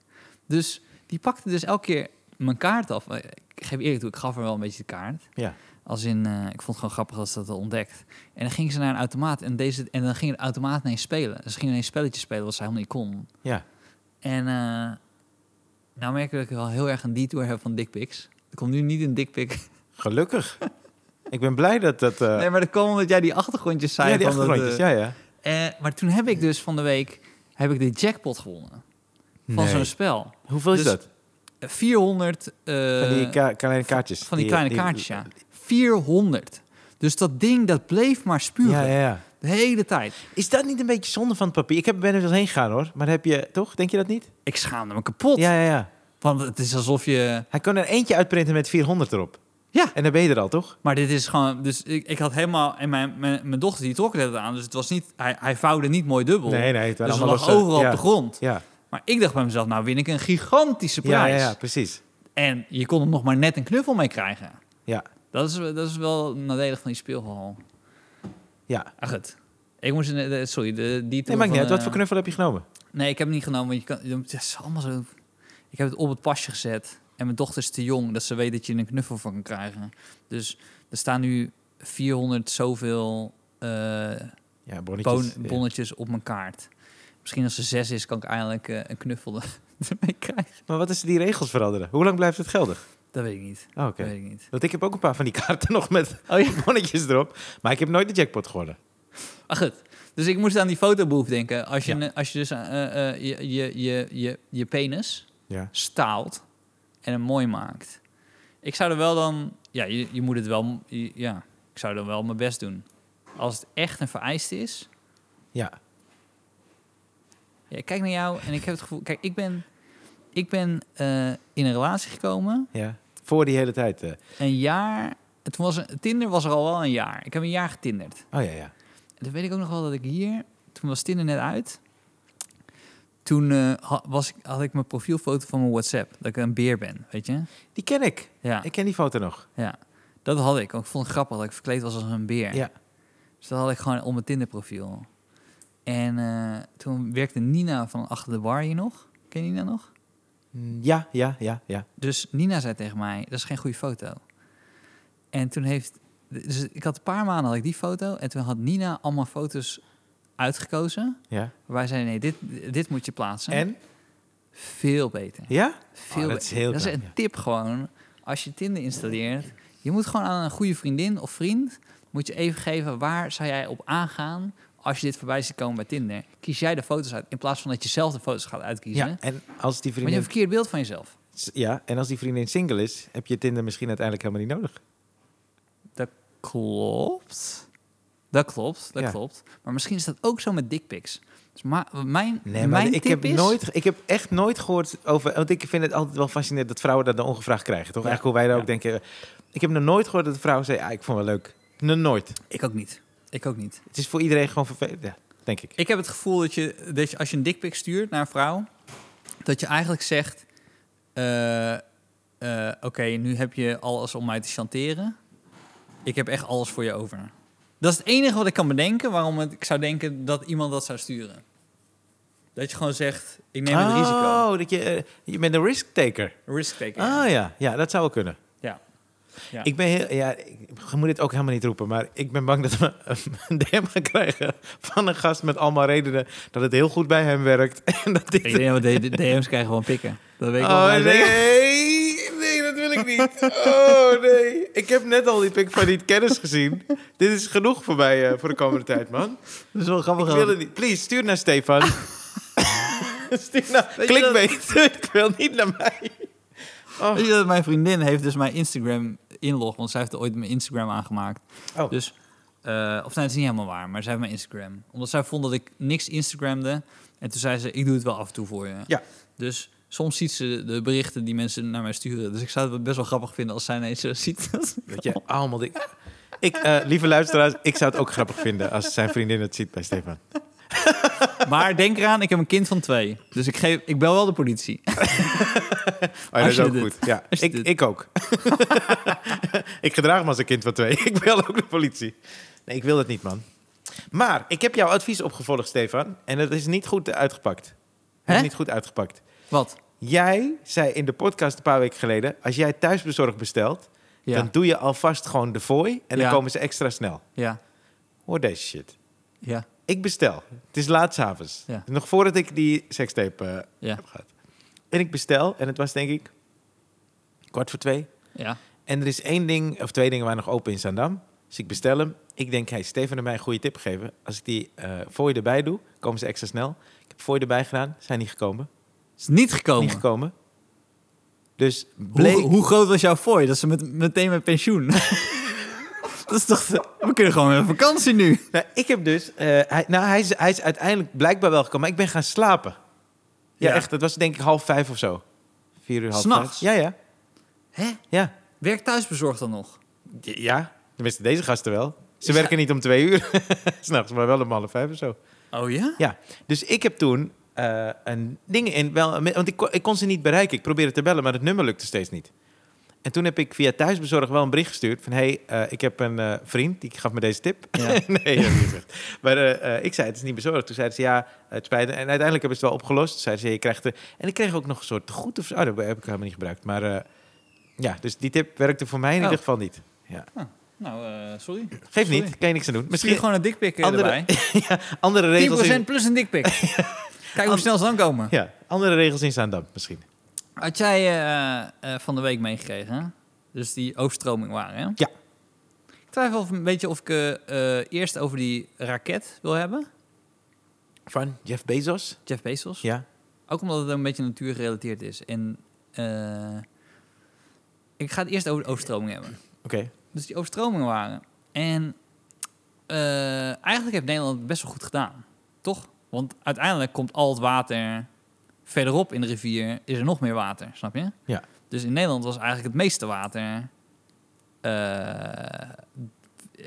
[SPEAKER 2] Dus die pakte dus elke keer mijn kaart af. Eh, Ik geef eerlijk toe, ik gaf haar wel een beetje de kaart.
[SPEAKER 1] Ja.
[SPEAKER 2] Als in, eh, ik vond het gewoon grappig dat ze dat had ontdekt. En dan ging ze naar een automaat en, deze, en dan ging de automaat ineens spelen. Dus ze ging ineens spelletjes spelen wat ze helemaal niet kon.
[SPEAKER 1] Ja.
[SPEAKER 2] En eh nou merk ik dat ik wel heel erg een detour heb van dickpics. Er komt nu niet een dickpic
[SPEAKER 1] Eh. Gelukkig. ik ben blij dat dat... eh,
[SPEAKER 2] Nee, maar dat kwam omdat jij die achtergrondjes zei.
[SPEAKER 1] ja, die
[SPEAKER 2] van dat,
[SPEAKER 1] achtergrondjes.
[SPEAKER 2] eh,
[SPEAKER 1] Ja, ja.
[SPEAKER 2] eh, maar toen heb ik dus van de week heb ik de jackpot gewonnen. Van
[SPEAKER 1] Nee.
[SPEAKER 2] zo'n spel.
[SPEAKER 1] Hoeveel is
[SPEAKER 2] dus-
[SPEAKER 1] dat?
[SPEAKER 2] Eh, 400... eh,
[SPEAKER 1] Van die ka- kleine kaartjes. eh,
[SPEAKER 2] van die kleine kaartjes, ja. 400. Dus dat ding, dat bleef maar spuren.
[SPEAKER 1] Ja, ja, ja.
[SPEAKER 2] De hele tijd.
[SPEAKER 1] Is dat niet een beetje zonde van het papier? Ik heb, ben er wel heen gegaan hoor. Maar heb je toch? Denk je dat niet?
[SPEAKER 2] Ik schaamde me kapot.
[SPEAKER 1] Ja, ja, ja.
[SPEAKER 2] Want het is alsof je...
[SPEAKER 1] Hij kon er eentje uitprinten met 400 erop.
[SPEAKER 2] Ja.
[SPEAKER 1] En dan ben je er al, toch?
[SPEAKER 2] Maar dit is gewoon... Dus ik, ik had helemaal... En mijn, mijn, mijn dochter die trok het aan. Dus het was niet... Hij, hij vouwde niet mooi dubbel.
[SPEAKER 1] Nee, nee. Het
[SPEAKER 2] dus
[SPEAKER 1] waren
[SPEAKER 2] het
[SPEAKER 1] allemaal
[SPEAKER 2] lag
[SPEAKER 1] losse-
[SPEAKER 2] overal
[SPEAKER 1] ja.
[SPEAKER 2] op de grond.
[SPEAKER 1] Ja.
[SPEAKER 2] Maar ik dacht bij mezelf, nou win ik een gigantische
[SPEAKER 1] Ja,
[SPEAKER 2] prijs.
[SPEAKER 1] ja, ja, precies.
[SPEAKER 2] En je kon er nog maar net een knuffel mee krijgen.
[SPEAKER 1] Ja,
[SPEAKER 2] Dat is, dat is wel nadelig van die speelhal.
[SPEAKER 1] ja.
[SPEAKER 2] Ach, goed. Ik moest... een- eh, Sorry, de, die
[SPEAKER 1] Nee, maakt niet uit. Wat
[SPEAKER 2] eh,
[SPEAKER 1] voor knuffel heb je genomen?
[SPEAKER 2] Nee, ik heb hem niet genomen. Want je kan, je moet- het is allemaal zo... Ik heb het op het pasje gezet. En mijn dochter is te jong dat ze weet dat je er een knuffel van kan krijgen. Dus er staan nu 400 zoveel eh,
[SPEAKER 1] Ja,
[SPEAKER 2] bon-
[SPEAKER 1] bonnetjes. Ja.
[SPEAKER 2] bonnetjes op mijn kaart. Misschien als ze zes is, kan ik eigenlijk eh, een knuffel er- ermee krijgen.
[SPEAKER 1] Maar wat is die regels veranderen? Hoe lang blijft het geldig?
[SPEAKER 2] Dat weet ik niet.
[SPEAKER 1] Oh, Oké.
[SPEAKER 2] Dat weet ik niet.
[SPEAKER 1] Want ik heb ook een paar van die kaarten nog met
[SPEAKER 2] Oh ja.
[SPEAKER 1] bonnetjes erop. Maar ik heb nooit de jackpot gewonnen.
[SPEAKER 2] Maar goed, dus ik moest aan die fotoboef denken. Als je,
[SPEAKER 1] Ja.
[SPEAKER 2] een- als je dus eh, eh, je, je, je, je, je penis
[SPEAKER 1] Ja.
[SPEAKER 2] staalt en hem mooi maakt. Ik zou er wel dan... Ja, je, je moet het wel... je- ja, ik zou dan wel mijn best doen. Als het echt een vereiste is...
[SPEAKER 1] Ja.
[SPEAKER 2] Ja, ik kijk naar jou en ik heb het gevoel... Kijk, ik ben, ik ben eh, in een relatie gekomen.
[SPEAKER 1] Ja, voor die hele tijd. eh.
[SPEAKER 2] Een jaar... Het was, een- Tinder was er al wel een jaar. Ik heb een jaar getinderd.
[SPEAKER 1] Oh ja, ja.
[SPEAKER 2] En dan weet ik ook nog wel dat ik hier, toen was Tinder net uit. Toen eh, ha- was ik, had ik mijn profielfoto van mijn WhatsApp. Dat ik een beer ben, weet je?
[SPEAKER 1] Die ken ik.
[SPEAKER 2] Ja,
[SPEAKER 1] Ik ken die foto nog.
[SPEAKER 2] ja. Dat had ik. Want ik vond het grappig dat ik verkleed was als een beer.
[SPEAKER 1] Ja.
[SPEAKER 2] Dus dat had ik gewoon op mijn Tinder profiel. En eh, toen werkte Nina van achter de bar hier nog. Ken je Nina nog?
[SPEAKER 1] Mm, Ja, ja, ja, ja.
[SPEAKER 2] Dus Nina zei tegen mij, dat is geen goede foto. En toen heeft... Dus ik had een paar maanden had ik die foto. En toen had Nina allemaal foto's uitgekozen.
[SPEAKER 1] ja.
[SPEAKER 2] Waarbij zei, nee, dit, dit moet je plaatsen.
[SPEAKER 1] En?
[SPEAKER 2] Veel beter.
[SPEAKER 1] Ja?
[SPEAKER 2] Veel
[SPEAKER 1] Oh, dat
[SPEAKER 2] beter.
[SPEAKER 1] is heel
[SPEAKER 2] dat is
[SPEAKER 1] knap,
[SPEAKER 2] een
[SPEAKER 1] ja.
[SPEAKER 2] tip gewoon. Als je Tinder installeert, je moet gewoon aan een goede vriendin of vriend... moet je even geven waar zou jij op aangaan als je dit voorbij ziet komen bij Tinder. Kies jij de foto's uit in plaats van dat je zelf de foto's gaat uitkiezen.
[SPEAKER 1] Ja. En als die
[SPEAKER 2] Maar je hebt
[SPEAKER 1] vriendin...
[SPEAKER 2] een verkeerd beeld van jezelf.
[SPEAKER 1] Ja, en als die vriendin single is, heb je Tinder misschien uiteindelijk helemaal niet nodig.
[SPEAKER 2] Klopt. Dat klopt, dat
[SPEAKER 1] Ja.
[SPEAKER 2] klopt. Maar misschien is dat ook zo met dickpics. Dus ma- mijn,
[SPEAKER 1] Nee, maar
[SPEAKER 2] mijn
[SPEAKER 1] ik
[SPEAKER 2] tip
[SPEAKER 1] heb
[SPEAKER 2] is...
[SPEAKER 1] nooit, ik heb echt nooit gehoord over, want ik vind het altijd wel fascinerend dat vrouwen dat dan ongevraagd krijgen, toch?
[SPEAKER 2] Ja.
[SPEAKER 1] Eigenlijk hoe wij daar
[SPEAKER 2] Ja.
[SPEAKER 1] ook denken. Ik heb nog nooit gehoord dat een vrouw zei, ah, ik vond het wel leuk. Nog nooit.
[SPEAKER 2] Ik ook niet. Ik ook niet.
[SPEAKER 1] Het is voor iedereen gewoon vervelend, ja, denk ik.
[SPEAKER 2] Ik heb het gevoel dat je, dat je als je een dikpik stuurt naar een vrouw, dat je eigenlijk zegt: eh, eh, Oké, nu heb je alles om mij te chanteren. ik heb echt alles voor je over. Dat is het enige wat ik kan bedenken waarom het- ik zou denken dat iemand dat zou sturen. Dat je gewoon zegt, ik neem het
[SPEAKER 1] oh,
[SPEAKER 2] risico.
[SPEAKER 1] dat je, eh, je bent een risk taker.
[SPEAKER 2] Risk taking.
[SPEAKER 1] Ah ja, ja, dat zou wel kunnen.
[SPEAKER 2] Ja. Ja.
[SPEAKER 1] Ik ben heel, ja, ik ik moet dit ook helemaal niet roepen, maar ik ben bang dat we een DM gaan krijgen van een gast met allemaal redenen dat het heel goed bij hem werkt. En dat dit
[SPEAKER 2] Ik denk dat we de- de DM's krijgen gewoon pikken. Dat weet ik wel.
[SPEAKER 1] Oh
[SPEAKER 2] maar-
[SPEAKER 1] nee, nee, dat wil ik niet. Oh nee, ik heb net al die pik van die kennis gezien. Dit is genoeg voor mij eh, voor de komende tijd, man.
[SPEAKER 2] Dat is wel grappig.
[SPEAKER 1] Ik wil het niet. Please, stuur naar Stefan. stuur naar
[SPEAKER 2] Weet je
[SPEAKER 1] clickbait. ik wil niet naar mij. Oh.
[SPEAKER 2] Weet je dat mijn vriendin heeft dus mijn Instagram inlog, want zij heeft ooit mijn Instagram aangemaakt.
[SPEAKER 1] Oh.
[SPEAKER 2] Dus, eh, of nee, het is niet helemaal waar, maar zij heeft mijn Instagram. Omdat zij vond dat ik niks Instagramde. En toen zei ze, ik doe het wel af en toe voor je.
[SPEAKER 1] Ja.
[SPEAKER 2] Dus soms ziet ze de berichten die mensen naar mij sturen. Dus ik zou het best wel grappig vinden als zij ineens zo ziet. dat-
[SPEAKER 1] Weet je, allemaal dingen. Ik, eh, lieve luisteraars, ik zou het ook grappig vinden als zijn vriendin het ziet bij Stefan.
[SPEAKER 2] maar denk eraan, ik heb een kind van twee. Dus ik, geef, ik bel wel de politie.
[SPEAKER 1] Oh, ja, dat
[SPEAKER 2] Als
[SPEAKER 1] is
[SPEAKER 2] je
[SPEAKER 1] ook
[SPEAKER 2] dit-
[SPEAKER 1] goed. Ja,
[SPEAKER 2] als je
[SPEAKER 1] ik,
[SPEAKER 2] dit-
[SPEAKER 1] ik ook. ik gedraag me als een kind van twee. ik bel ook de politie. Nee, ik wil dat niet, man. Maar ik heb jouw advies opgevolgd, Stefan. En het is niet goed uitgepakt. Het is
[SPEAKER 2] Hè?
[SPEAKER 1] niet goed uitgepakt.
[SPEAKER 2] Wat?
[SPEAKER 1] Jij zei in de podcast een paar weken geleden... als jij thuisbezorgd bestelt...
[SPEAKER 2] Ja.
[SPEAKER 1] dan doe je alvast gewoon de fooi... en
[SPEAKER 2] Ja.
[SPEAKER 1] dan komen ze extra snel.
[SPEAKER 2] Ja.
[SPEAKER 1] Hoor deze shit.
[SPEAKER 2] Ja.
[SPEAKER 1] Ik bestel. Het is laatsavonds.
[SPEAKER 2] Ja.
[SPEAKER 1] Nog voordat ik die sekstape eh,
[SPEAKER 2] Ja.
[SPEAKER 1] heb gehad. En ik bestel. En het was denk ik... kwart voor twee.
[SPEAKER 2] Ja.
[SPEAKER 1] En er is één ding, of twee dingen waar nog open in Zandam. Dus ik bestel hem. Ik denk, hey, Steven heeft mij een goede tip gegeven. Als ik die eh voor je erbij doe, komen ze extra snel. Ik heb voor je erbij gedaan, zijn niet gekomen.
[SPEAKER 2] Is niet gekomen.
[SPEAKER 1] Niet gekomen. Dus bleek...
[SPEAKER 2] Hoe, hoe groot was jouw fooi? Dat ze met, meteen met pensioen. dat is toch... We kunnen gewoon weer op vakantie nu.
[SPEAKER 1] Nou, ik heb dus... eh, hij, nou, hij is, hij is uiteindelijk blijkbaar wel gekomen, maar ik ben gaan slapen. Ja,
[SPEAKER 2] Ja.
[SPEAKER 1] echt. Dat was denk ik half vijf of zo. Vier uur, half
[SPEAKER 2] S'nachts?
[SPEAKER 1] vijf. Ja, ja.
[SPEAKER 2] Hè?
[SPEAKER 1] Ja.
[SPEAKER 2] Werk thuisbezorgd dan nog?
[SPEAKER 1] Ja, tenminste deze gasten wel. Ze
[SPEAKER 2] Ja.
[SPEAKER 1] werken niet om twee uur. S'nachts, maar wel om half vijf of zo.
[SPEAKER 2] Oh ja?
[SPEAKER 1] Ja, dus ik heb toen eh, een ding in. Wel, want ik, kon- ik kon ze niet bereiken. Ik probeerde te bellen, maar het nummer lukte steeds niet. En toen heb ik via thuisbezorg wel een bericht gestuurd van... hey, eh, ik heb een eh, vriend, die gaf me deze tip.
[SPEAKER 2] Ja.
[SPEAKER 1] nee, dat heb ik niet gezegd. Maar eh, eh, ik zei, het is niet bezorgd. Toen zeiden ze, ja, het spijt me. En uiteindelijk hebben ze het wel opgelost. Toen zeiden ze, je krijgt er... En ik kreeg ook nog een soort goed of zo. Oh, dat heb ik helemaal niet gebruikt. Maar eh, ja, dus die tip werkte voor mij in
[SPEAKER 2] Oh.
[SPEAKER 1] ieder geval niet.
[SPEAKER 2] Nou, eh, sorry.
[SPEAKER 1] Geeft
[SPEAKER 2] Sorry.
[SPEAKER 1] niet, kan je niks aan doen.
[SPEAKER 2] Misschien
[SPEAKER 1] Misschien
[SPEAKER 2] gewoon een dikpik eh,
[SPEAKER 1] Andere-
[SPEAKER 2] erbij.
[SPEAKER 1] andere regels
[SPEAKER 2] 10%
[SPEAKER 1] in...
[SPEAKER 2] plus een dikpik. Kijk hoe
[SPEAKER 1] And-
[SPEAKER 2] snel ze dan komen.
[SPEAKER 1] Ja, andere regels in Zaandam misschien.
[SPEAKER 2] Had jij eh, eh, van de week meegekregen, hè? dus die overstroming waren, hè?
[SPEAKER 1] Ja.
[SPEAKER 2] Ik twijfel of, een beetje of ik eh, eh, eerst over die raket wil hebben.
[SPEAKER 1] Van Jeff Bezos?
[SPEAKER 2] Jeff Bezos.
[SPEAKER 1] Ja.
[SPEAKER 2] Ook omdat het een beetje natuurgerelateerd is. En eh, ik ga het eerst over de overstroming hebben.
[SPEAKER 1] Oké.
[SPEAKER 2] Dus die overstromingen waren. En eh, eigenlijk heeft Nederland het best wel goed gedaan. Toch? Want uiteindelijk komt al het water verderop in de rivier. Is er nog meer water, snap je?
[SPEAKER 1] Ja.
[SPEAKER 2] Dus in Nederland was eigenlijk het meeste water. eh,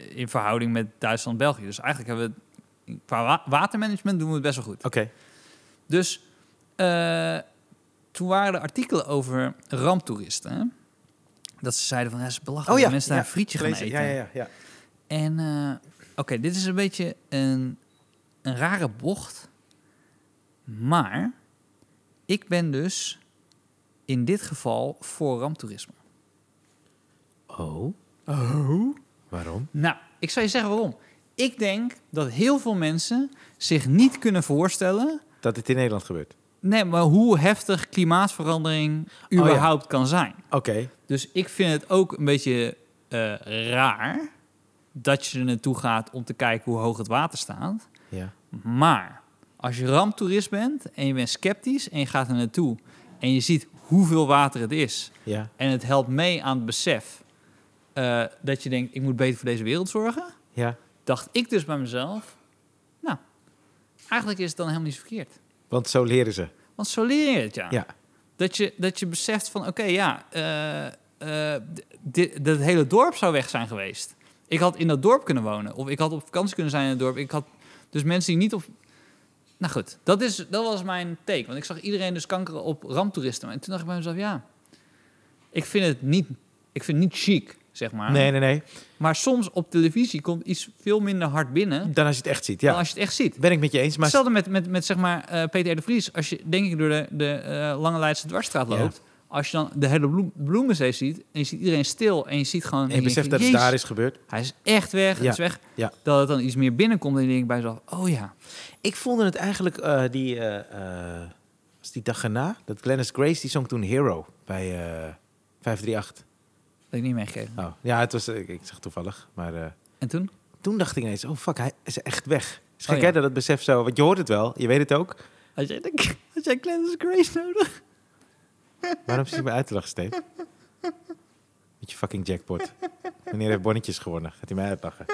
[SPEAKER 2] in verhouding met Duitsland en België. Dus eigenlijk hebben we. het- Qua wa- watermanagement doen we het best wel goed.
[SPEAKER 1] Oké.
[SPEAKER 2] Dus eh, toen waren er artikelen over ramptoeristen. hè? Dat ze zeiden van, ja, ze belachelijk
[SPEAKER 1] Oh ja,
[SPEAKER 2] dat mensen daar
[SPEAKER 1] ja,
[SPEAKER 2] een frietje gaan
[SPEAKER 1] Gelezen.
[SPEAKER 2] eten.
[SPEAKER 1] Ja, ja, ja. ja.
[SPEAKER 2] En eh, oké, dit is een beetje een, een rare bocht. Maar ik ben dus in dit geval voor ramptoerisme.
[SPEAKER 1] Oh,
[SPEAKER 2] Oh?
[SPEAKER 1] waarom?
[SPEAKER 2] Nou, ik zou je zeggen waarom. Ik denk dat heel veel mensen zich niet kunnen voorstellen
[SPEAKER 1] Dat het in Nederland gebeurt.
[SPEAKER 2] Nee, maar hoe heftig klimaatverandering
[SPEAKER 1] Oh ja.
[SPEAKER 2] überhaupt kan zijn.
[SPEAKER 1] Oké.
[SPEAKER 2] Dus ik vind het ook een beetje eh, raar dat je er naartoe gaat om te kijken hoe hoog het water staat.
[SPEAKER 1] Ja.
[SPEAKER 2] Maar als je ramptoerist bent en je bent sceptisch en je gaat er naartoe en je ziet hoeveel water het is
[SPEAKER 1] Ja.
[SPEAKER 2] en het helpt mee aan het besef eh, dat je denkt ik moet beter voor deze wereld zorgen,
[SPEAKER 1] Ja.
[SPEAKER 2] dacht ik dus bij mezelf, nou, eigenlijk is het dan helemaal niet zo verkeerd.
[SPEAKER 1] Want zo leren ze.
[SPEAKER 2] Want zo leer je het,
[SPEAKER 1] Ja.
[SPEAKER 2] dat je, dat je beseft van, oké, ja, eh, eh, di- dat het hele dorp zou weg zijn geweest. Ik had in dat dorp kunnen wonen. Of ik had op vakantie kunnen zijn in het dorp. Ik had dus mensen die niet op... Nou goed, dat, is, dat was mijn take. Want ik zag iedereen dus kankeren op ramptoeristen. En toen dacht ik bij mezelf, ja, ik vind het niet, ik vind het niet chic zeg maar.
[SPEAKER 1] Nee, nee, nee.
[SPEAKER 2] Maar soms op televisie komt iets veel minder hard binnen
[SPEAKER 1] Dan als je het echt ziet,
[SPEAKER 2] dan
[SPEAKER 1] ja.
[SPEAKER 2] als je het echt ziet.
[SPEAKER 1] Ben ik met je eens, maar...
[SPEAKER 2] Hetzelfde met, met, met zeg maar, eh, Peter R. de Vries. Als je, denk ik, door de, de eh, Lange Leidse dwarsstraat
[SPEAKER 1] Ja.
[SPEAKER 2] loopt... Als je dan de hele bloem, bloemenzee ziet en je ziet iedereen stil en je ziet gewoon...
[SPEAKER 1] En je
[SPEAKER 2] en
[SPEAKER 1] beseft dat het
[SPEAKER 2] denkt, "Jezus,
[SPEAKER 1] daar is gebeurd.
[SPEAKER 2] Hij is echt weg, het
[SPEAKER 1] Ja,
[SPEAKER 2] is weg.
[SPEAKER 1] ja.
[SPEAKER 2] Dat het dan iets meer binnenkomt en je denkt bij jezelf... Oh ja,
[SPEAKER 1] Ik vond het eigenlijk eh, die... eh, eh, was die dag erna? Dat Glennis Grace, die zong toen Hero bij eh, 538.
[SPEAKER 2] dat heb ik niet meegekregen.
[SPEAKER 1] Oh, ja, het was... Ik, ik zeg toevallig, maar... eh,
[SPEAKER 2] En toen?
[SPEAKER 1] toen dacht ik ineens, oh fuck, hij is echt weg. Het is gek
[SPEAKER 2] Oh ja.
[SPEAKER 1] hè, dat het besef zo... Want je hoort het wel, je weet het ook.
[SPEAKER 2] Had jij, had jij Glennis Grace nodig?
[SPEAKER 1] Waarom zit je mij uit te lachen, Steve? Met je fucking jackpot. Meneer heeft bonnetjes gewonnen. Gaat hij mij uitlachen?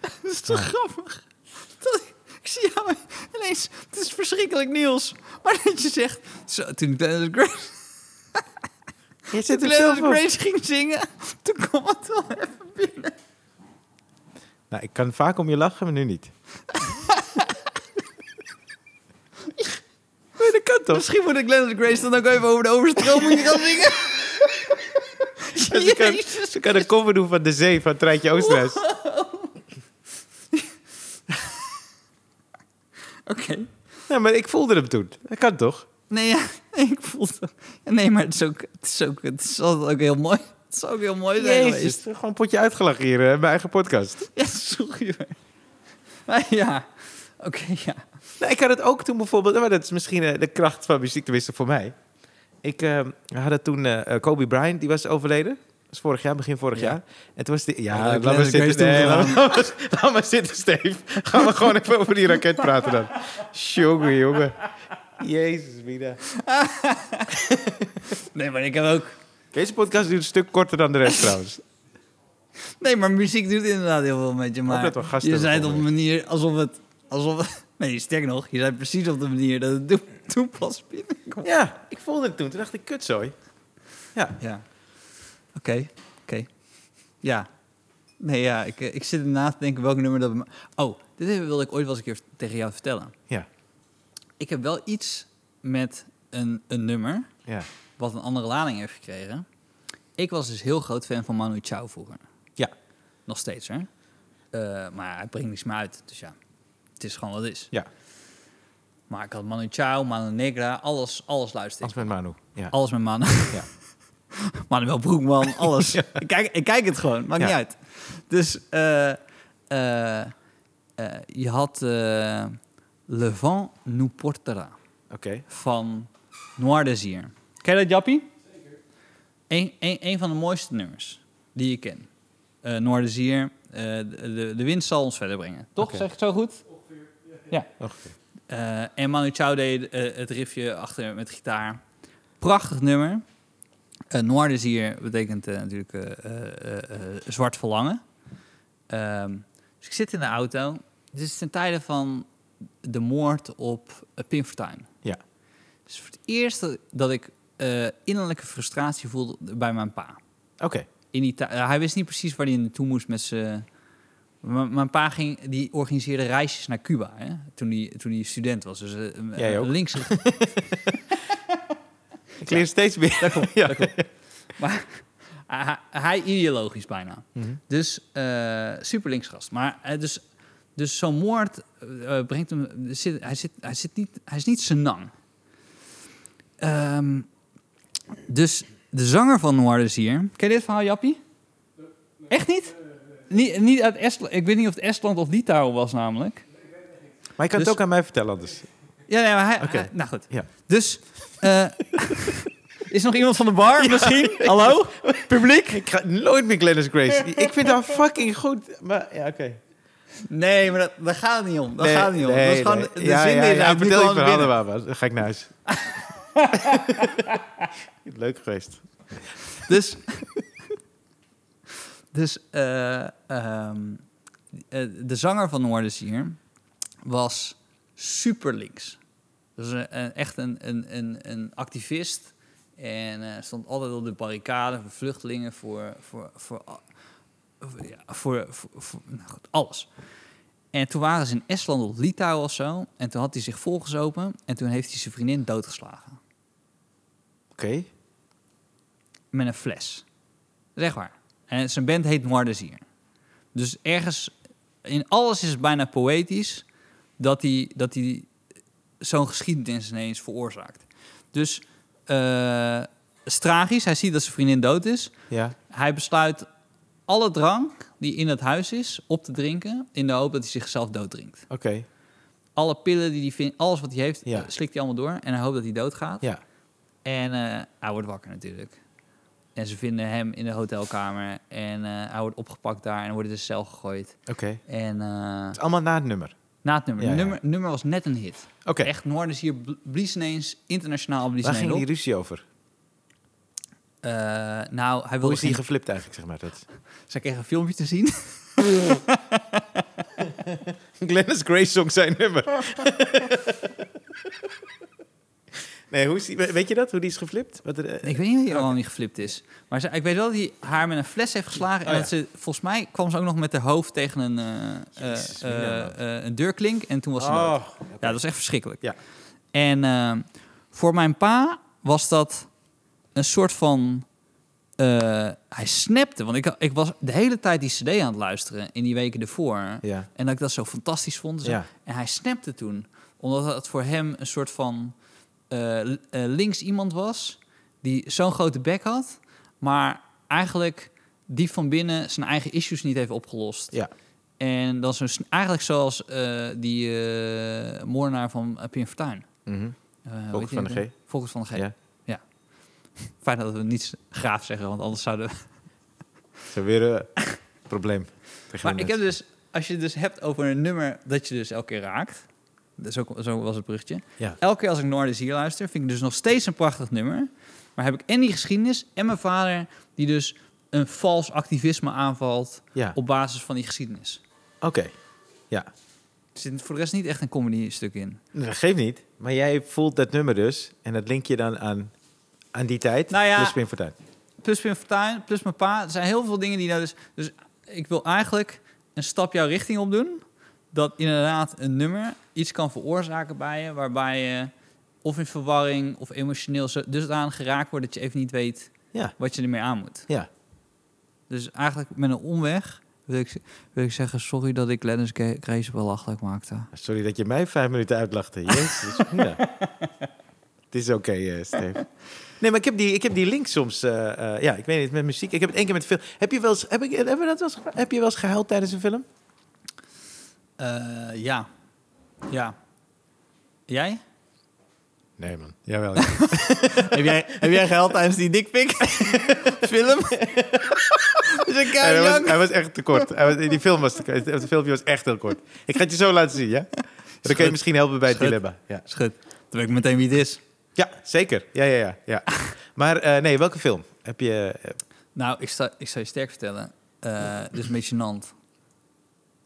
[SPEAKER 2] Dat is toch grappig? Dat, ik zie jou ineens... Het is verschrikkelijk nieuws. Maar dat je zegt... Zo, toen Glennis Grace...
[SPEAKER 1] Je
[SPEAKER 2] Toen
[SPEAKER 1] zit er
[SPEAKER 2] Glennis
[SPEAKER 1] zelf op.
[SPEAKER 2] Grace ging zingen, toen kwam het wel even binnen.
[SPEAKER 1] Nou, ik kan vaak om je lachen, maar nu niet. nee, dat kan toch?
[SPEAKER 2] Misschien moet ik Glennis Grace dan ook even over de overstroming gaan zingen.
[SPEAKER 1] Ze kan,
[SPEAKER 2] Jezus.
[SPEAKER 1] ze kan een cover doen van De Zee van Treintje Oosterhuis.
[SPEAKER 2] Oké.
[SPEAKER 1] Ja, maar ik voelde hem toen. Dat kan toch?
[SPEAKER 2] Nee, ja, nee, ik voel het. Nee, maar het is ook, het is ook, het is altijd ook heel mooi. Het zou ook heel mooi zijn
[SPEAKER 1] Jezus,
[SPEAKER 2] geweest.
[SPEAKER 1] gewoon een potje uitgelachen hier eh, in mijn eigen podcast.
[SPEAKER 2] Ja, sorry hoor. Maar ja, oké, ja.
[SPEAKER 1] Nou, ik had het ook toen bijvoorbeeld... Maar dat is misschien eh, de kracht van muziek, tenminste voor mij. Ik eh, had het toen... eh, eh, Kobe Bryant, die was overleden. Dat was vorig jaar, begin vorig
[SPEAKER 2] Ja.
[SPEAKER 1] jaar. En toen was die... Ja,
[SPEAKER 2] Ja, dat heb ik
[SPEAKER 1] laat maar
[SPEAKER 2] Lance Grace
[SPEAKER 1] zitten.
[SPEAKER 2] toen
[SPEAKER 1] Nee, laat,
[SPEAKER 2] gedaan.
[SPEAKER 1] maar- laat maar- laat maar zitten, Steve. Gaan we gewoon even over die raket praten dan. Jongen, jongen. Jezus, Mina.
[SPEAKER 2] Nee, maar ik heb ook...
[SPEAKER 1] Deze podcast duurt een stuk korter dan de rest trouwens.
[SPEAKER 2] Nee, maar muziek doet inderdaad heel veel met je, maar
[SPEAKER 1] dat we gasten
[SPEAKER 2] je
[SPEAKER 1] hebben
[SPEAKER 2] zei het op een
[SPEAKER 1] volgende
[SPEAKER 2] manier alsof het... Alsof, nee, sterk nog, je zei het precies op de manier dat het toen, toen pas binnenkwam.
[SPEAKER 1] Ja, ik voelde het toen. Toen dacht ik, kutzooi. Ja.
[SPEAKER 2] Ja. Oké, oké. Ja. Nee, ja, ik, eh, ik zit erna te denken welk nummer dat... bij mij- Oh, dit even wilde ik ooit wel eens een keer tegen jou vertellen.
[SPEAKER 1] Ja.
[SPEAKER 2] Ik heb wel iets met een, een nummer
[SPEAKER 1] Ja.
[SPEAKER 2] wat een andere lading heeft gekregen. Ik was dus heel groot fan van Manu Chao vroeger.
[SPEAKER 1] Ja.
[SPEAKER 2] Nog steeds, hè? Eh, maar hij brengt niks meer uit, dus ja. Het is gewoon wat het is.
[SPEAKER 1] Ja.
[SPEAKER 2] Maar ik had Manu Chao, Manu Negra, alles, alles luister ik.
[SPEAKER 1] Als met Manu. Ja.
[SPEAKER 2] Alles met mannen.
[SPEAKER 1] Ja.
[SPEAKER 2] Manuel Broekman, alles. ik, kijk, ik kijk het gewoon, maakt
[SPEAKER 1] Ja.
[SPEAKER 2] niet uit. Dus eh, eh, eh, je had eh Le Vent nous portera
[SPEAKER 1] Oké.
[SPEAKER 2] van Noir Desir. Ken je dat, Jappie? Zeker. Een van de mooiste nummers die je kent. Eh Noir Desir, eh, de, de, de wind zal ons verder brengen. Toch,
[SPEAKER 1] Oké.
[SPEAKER 2] zeg ik het zo goed?
[SPEAKER 1] Oké.
[SPEAKER 2] Eh, en Manu Chao deed eh, het riffje achter met gitaar. Prachtig nummer. Eh noir is hier, betekent eh, natuurlijk eh, eh, eh, eh, zwart verlangen. Ehm, dus ik zit in de auto. Dit is ten tijde van de moord op eh, Pim Fortuyn.
[SPEAKER 1] Ja.
[SPEAKER 2] Dus voor het eerst dat- dat ik eh, innerlijke frustratie voelde bij mijn pa.
[SPEAKER 1] Oké.
[SPEAKER 2] In die ta- eh, hij wist niet precies waar hij naartoe moest met zijn... M- Mijn pa ging, die organiseerde reisjes naar Cuba, hè? Toen, hij, toen hij student was. Dus eh, m-
[SPEAKER 1] Jij ook?
[SPEAKER 2] links...
[SPEAKER 1] Ik leer steeds meer.
[SPEAKER 2] Daar komt,
[SPEAKER 1] Ja.
[SPEAKER 2] daar komt. Maar hij, hij ideologisch bijna.
[SPEAKER 1] Mhm.
[SPEAKER 2] Dus eh super linksgast. Maar eh, dus, dus zo'n moord eh, eh, brengt hem. Zit, hij, zit, hij, zit niet, hij is niet senang. Ehm dus de zanger van Noir is hier. Ken je dit verhaal, Jappie? Echt niet? Niet, niet uit Estland. Ik weet niet of het Estland of Litouwen was, namelijk.
[SPEAKER 1] Maar je kan
[SPEAKER 2] Dus-
[SPEAKER 1] het ook aan mij vertellen anders.
[SPEAKER 2] Ja, nee, maar hij,
[SPEAKER 1] Oké.
[SPEAKER 2] hij- nou goed.
[SPEAKER 1] Ja.
[SPEAKER 2] Dus, eh, is nog iemand van de bar misschien? Hallo? Publiek?
[SPEAKER 1] Ik ga nooit meer Glennis Grace. Ik vind haar fucking goed. Maar ja, oké.
[SPEAKER 2] Nee, maar dat, daar gaat het niet om. Daar gaat het niet om. dat is gewoon de- de
[SPEAKER 1] ja,
[SPEAKER 2] zin
[SPEAKER 1] ja,
[SPEAKER 2] die
[SPEAKER 1] ja,
[SPEAKER 2] eruit nu
[SPEAKER 1] vertel je
[SPEAKER 2] kwam
[SPEAKER 1] verhaal
[SPEAKER 2] binnen.
[SPEAKER 1] er maar, maar Dan ga ik naar huis. Leuk geweest.
[SPEAKER 2] Dus, dus eh, ehm, eh, de zanger van Noorders hier was super links. Dus eh, eh, echt een, een, een, een activist. En eh, stond altijd op de barricade voor vluchtelingen, voor, voor, voor, a- voor, ja, voor, voor, voor- nou goed, alles. En toen waren ze in Estland of Litouwen of zo. En toen had hij zich volgezopen. En toen heeft hij zijn vriendin doodgeslagen.
[SPEAKER 1] Oké.
[SPEAKER 2] Met een fles. Zeg maar. En zijn band heet Noir Desir. Dus ergens, in alles is het bijna poëtisch dat hij, dat hij zo'n geschiedenis ineens veroorzaakt. Dus eh, het is tragisch, hij ziet dat zijn vriendin dood is.
[SPEAKER 1] Ja.
[SPEAKER 2] Hij besluit alle drank die in het huis is op te drinken... in de hoop dat hij zichzelf dooddrinkt.
[SPEAKER 1] Oké.
[SPEAKER 2] Alle pillen die hij vindt, alles wat hij heeft,
[SPEAKER 1] Ja.
[SPEAKER 2] eh, slikt hij allemaal door. En hij hoopt dat hij doodgaat.
[SPEAKER 1] Ja.
[SPEAKER 2] En eh, hij wordt wakker natuurlijk. En ze vinden hem in de hotelkamer. En eh, hij wordt opgepakt daar en wordt in de cel gegooid.
[SPEAKER 1] Oké.
[SPEAKER 2] En eh,
[SPEAKER 1] Het is allemaal na het nummer.
[SPEAKER 2] na het nummer.
[SPEAKER 1] Ja, ja.
[SPEAKER 2] nummer. Nummer was net een hit.
[SPEAKER 1] Oké.
[SPEAKER 2] Echt, Noorden is hier bl- blies ineens, internationaal blies
[SPEAKER 1] Waar
[SPEAKER 2] ineens
[SPEAKER 1] ging
[SPEAKER 2] op.
[SPEAKER 1] die ruzie over?
[SPEAKER 2] Eh, nou, hij
[SPEAKER 1] Hoe
[SPEAKER 2] wilde
[SPEAKER 1] is die
[SPEAKER 2] geen...
[SPEAKER 1] geflipt eigenlijk, zeg maar? Dat.
[SPEAKER 2] Zij kregen een filmpje te zien.
[SPEAKER 1] Glennis Grace zong zijn nummer. nee, hoe is die, we- weet je dat? Hoe die is geflipt? Wat er, eh,
[SPEAKER 2] Ik weet niet of hij allemaal niet geflipt is. Maar ze, ik weet wel dat hij haar met een fles heeft geslagen. en
[SPEAKER 1] Oh, ja.
[SPEAKER 2] dat ze, volgens mij kwam ze ook nog met haar hoofd tegen een, eh, eh,
[SPEAKER 1] Jezus,
[SPEAKER 2] eh,
[SPEAKER 1] mina, man.
[SPEAKER 2] eh, een deurklink. En toen was ze dood.
[SPEAKER 1] Oh,
[SPEAKER 2] Ja, dat is echt verschrikkelijk.
[SPEAKER 1] Ja.
[SPEAKER 2] En ehm, voor mijn pa was dat een soort van... eh, hij snapte, want ik, ik was de hele tijd die cd aan het luisteren in die weken ervoor.
[SPEAKER 1] ja.
[SPEAKER 2] En dat ik dat zo fantastisch vond. Dus
[SPEAKER 1] Ja.
[SPEAKER 2] En hij snapte toen, omdat dat voor hem een soort van eh, l- eh, links iemand was... die zo'n grote bek had, maar eigenlijk die van binnen zijn eigen issues niet heeft opgelost.
[SPEAKER 1] Ja.
[SPEAKER 2] En dan zo, eigenlijk zoals eh, die eh, moordenaar van eh, Pim Fortuyn.
[SPEAKER 1] Mhm.
[SPEAKER 2] Eh, hoe heet
[SPEAKER 1] Volkert van
[SPEAKER 2] die ook
[SPEAKER 1] de G.
[SPEAKER 2] weer? Volkert van de G.
[SPEAKER 1] Ja.
[SPEAKER 2] Ja. Fijn dat we niets graaf zeggen, want anders zouden we...
[SPEAKER 1] Zo weer een probleem. Tegen
[SPEAKER 2] Maar
[SPEAKER 1] de
[SPEAKER 2] ik heb
[SPEAKER 1] mensen.
[SPEAKER 2] dus, als je het dus hebt over een nummer dat je dus elke keer raakt... Dus ook, zo was het bruggetje.
[SPEAKER 1] Ja.
[SPEAKER 2] Elke keer als ik Noorden hier luister, vind ik dus nog steeds een prachtig nummer. Maar heb ik en die geschiedenis en mijn vader die dus een vals activisme aanvalt
[SPEAKER 1] Ja,
[SPEAKER 2] op basis van die geschiedenis.
[SPEAKER 1] oké.
[SPEAKER 2] Er zit voor de rest niet echt een comedy stuk in.
[SPEAKER 1] Nou, Dat geeft niet. Maar jij voelt dat nummer dus. En dat link je dan aan, aan die tijd.
[SPEAKER 2] Nou ja.
[SPEAKER 1] Dus Pim Fortuyn.
[SPEAKER 2] plus Pim Fortuyn, plus mijn pa. Er zijn heel veel dingen die nou dus... Dus ik wil eigenlijk een stap jouw richting op doen. Dat inderdaad een nummer iets kan veroorzaken bij je... waarbij je of in verwarring of emotioneel zo- dusdanig geraakt wordt... dat je even niet weet
[SPEAKER 1] Ja.
[SPEAKER 2] wat je ermee aan moet.
[SPEAKER 1] Ja.
[SPEAKER 2] Dus eigenlijk met een omweg wil ik, wil ik zeggen... sorry dat ik Lennis Ga- Grace belachelijk maakte.
[SPEAKER 1] Ah, Sorry dat je mij vijf minuten uitlachte. Jezus. ja. Het is oké, eh, Steve. Nee, maar ik heb die, ik heb die link soms. eh, eh, ja, ik weet niet, met muziek. Ik heb het één keer met film. Heb je wel eens, heb ik, hebben we dat wel eens, gevraagd? heb je wel eens gehuild tijdens een film?
[SPEAKER 2] Eh, ja. Ja. Jij?
[SPEAKER 1] Nee, man. Jawel.
[SPEAKER 2] heb, jij, heb jij gehaald tijdens die dikpik film? dus ik
[SPEAKER 1] hij, was, hij was echt te kort. Hij was, die film was te kort. Het filmpje was echt heel kort. Ik ga het je zo laten zien, ja? Dan kun
[SPEAKER 2] Schud.
[SPEAKER 1] je misschien helpen bij het
[SPEAKER 2] Schud.
[SPEAKER 1] dilemma. Ja.
[SPEAKER 2] Schud. Dan weet ik meteen wie het is.
[SPEAKER 1] Ja, zeker. Ja, ja, ja. ja. Maar eh, nee, welke film heb je? eh,
[SPEAKER 2] Nou, ik, sta, ik zou je sterk vertellen. Eh dus een beetje gênant.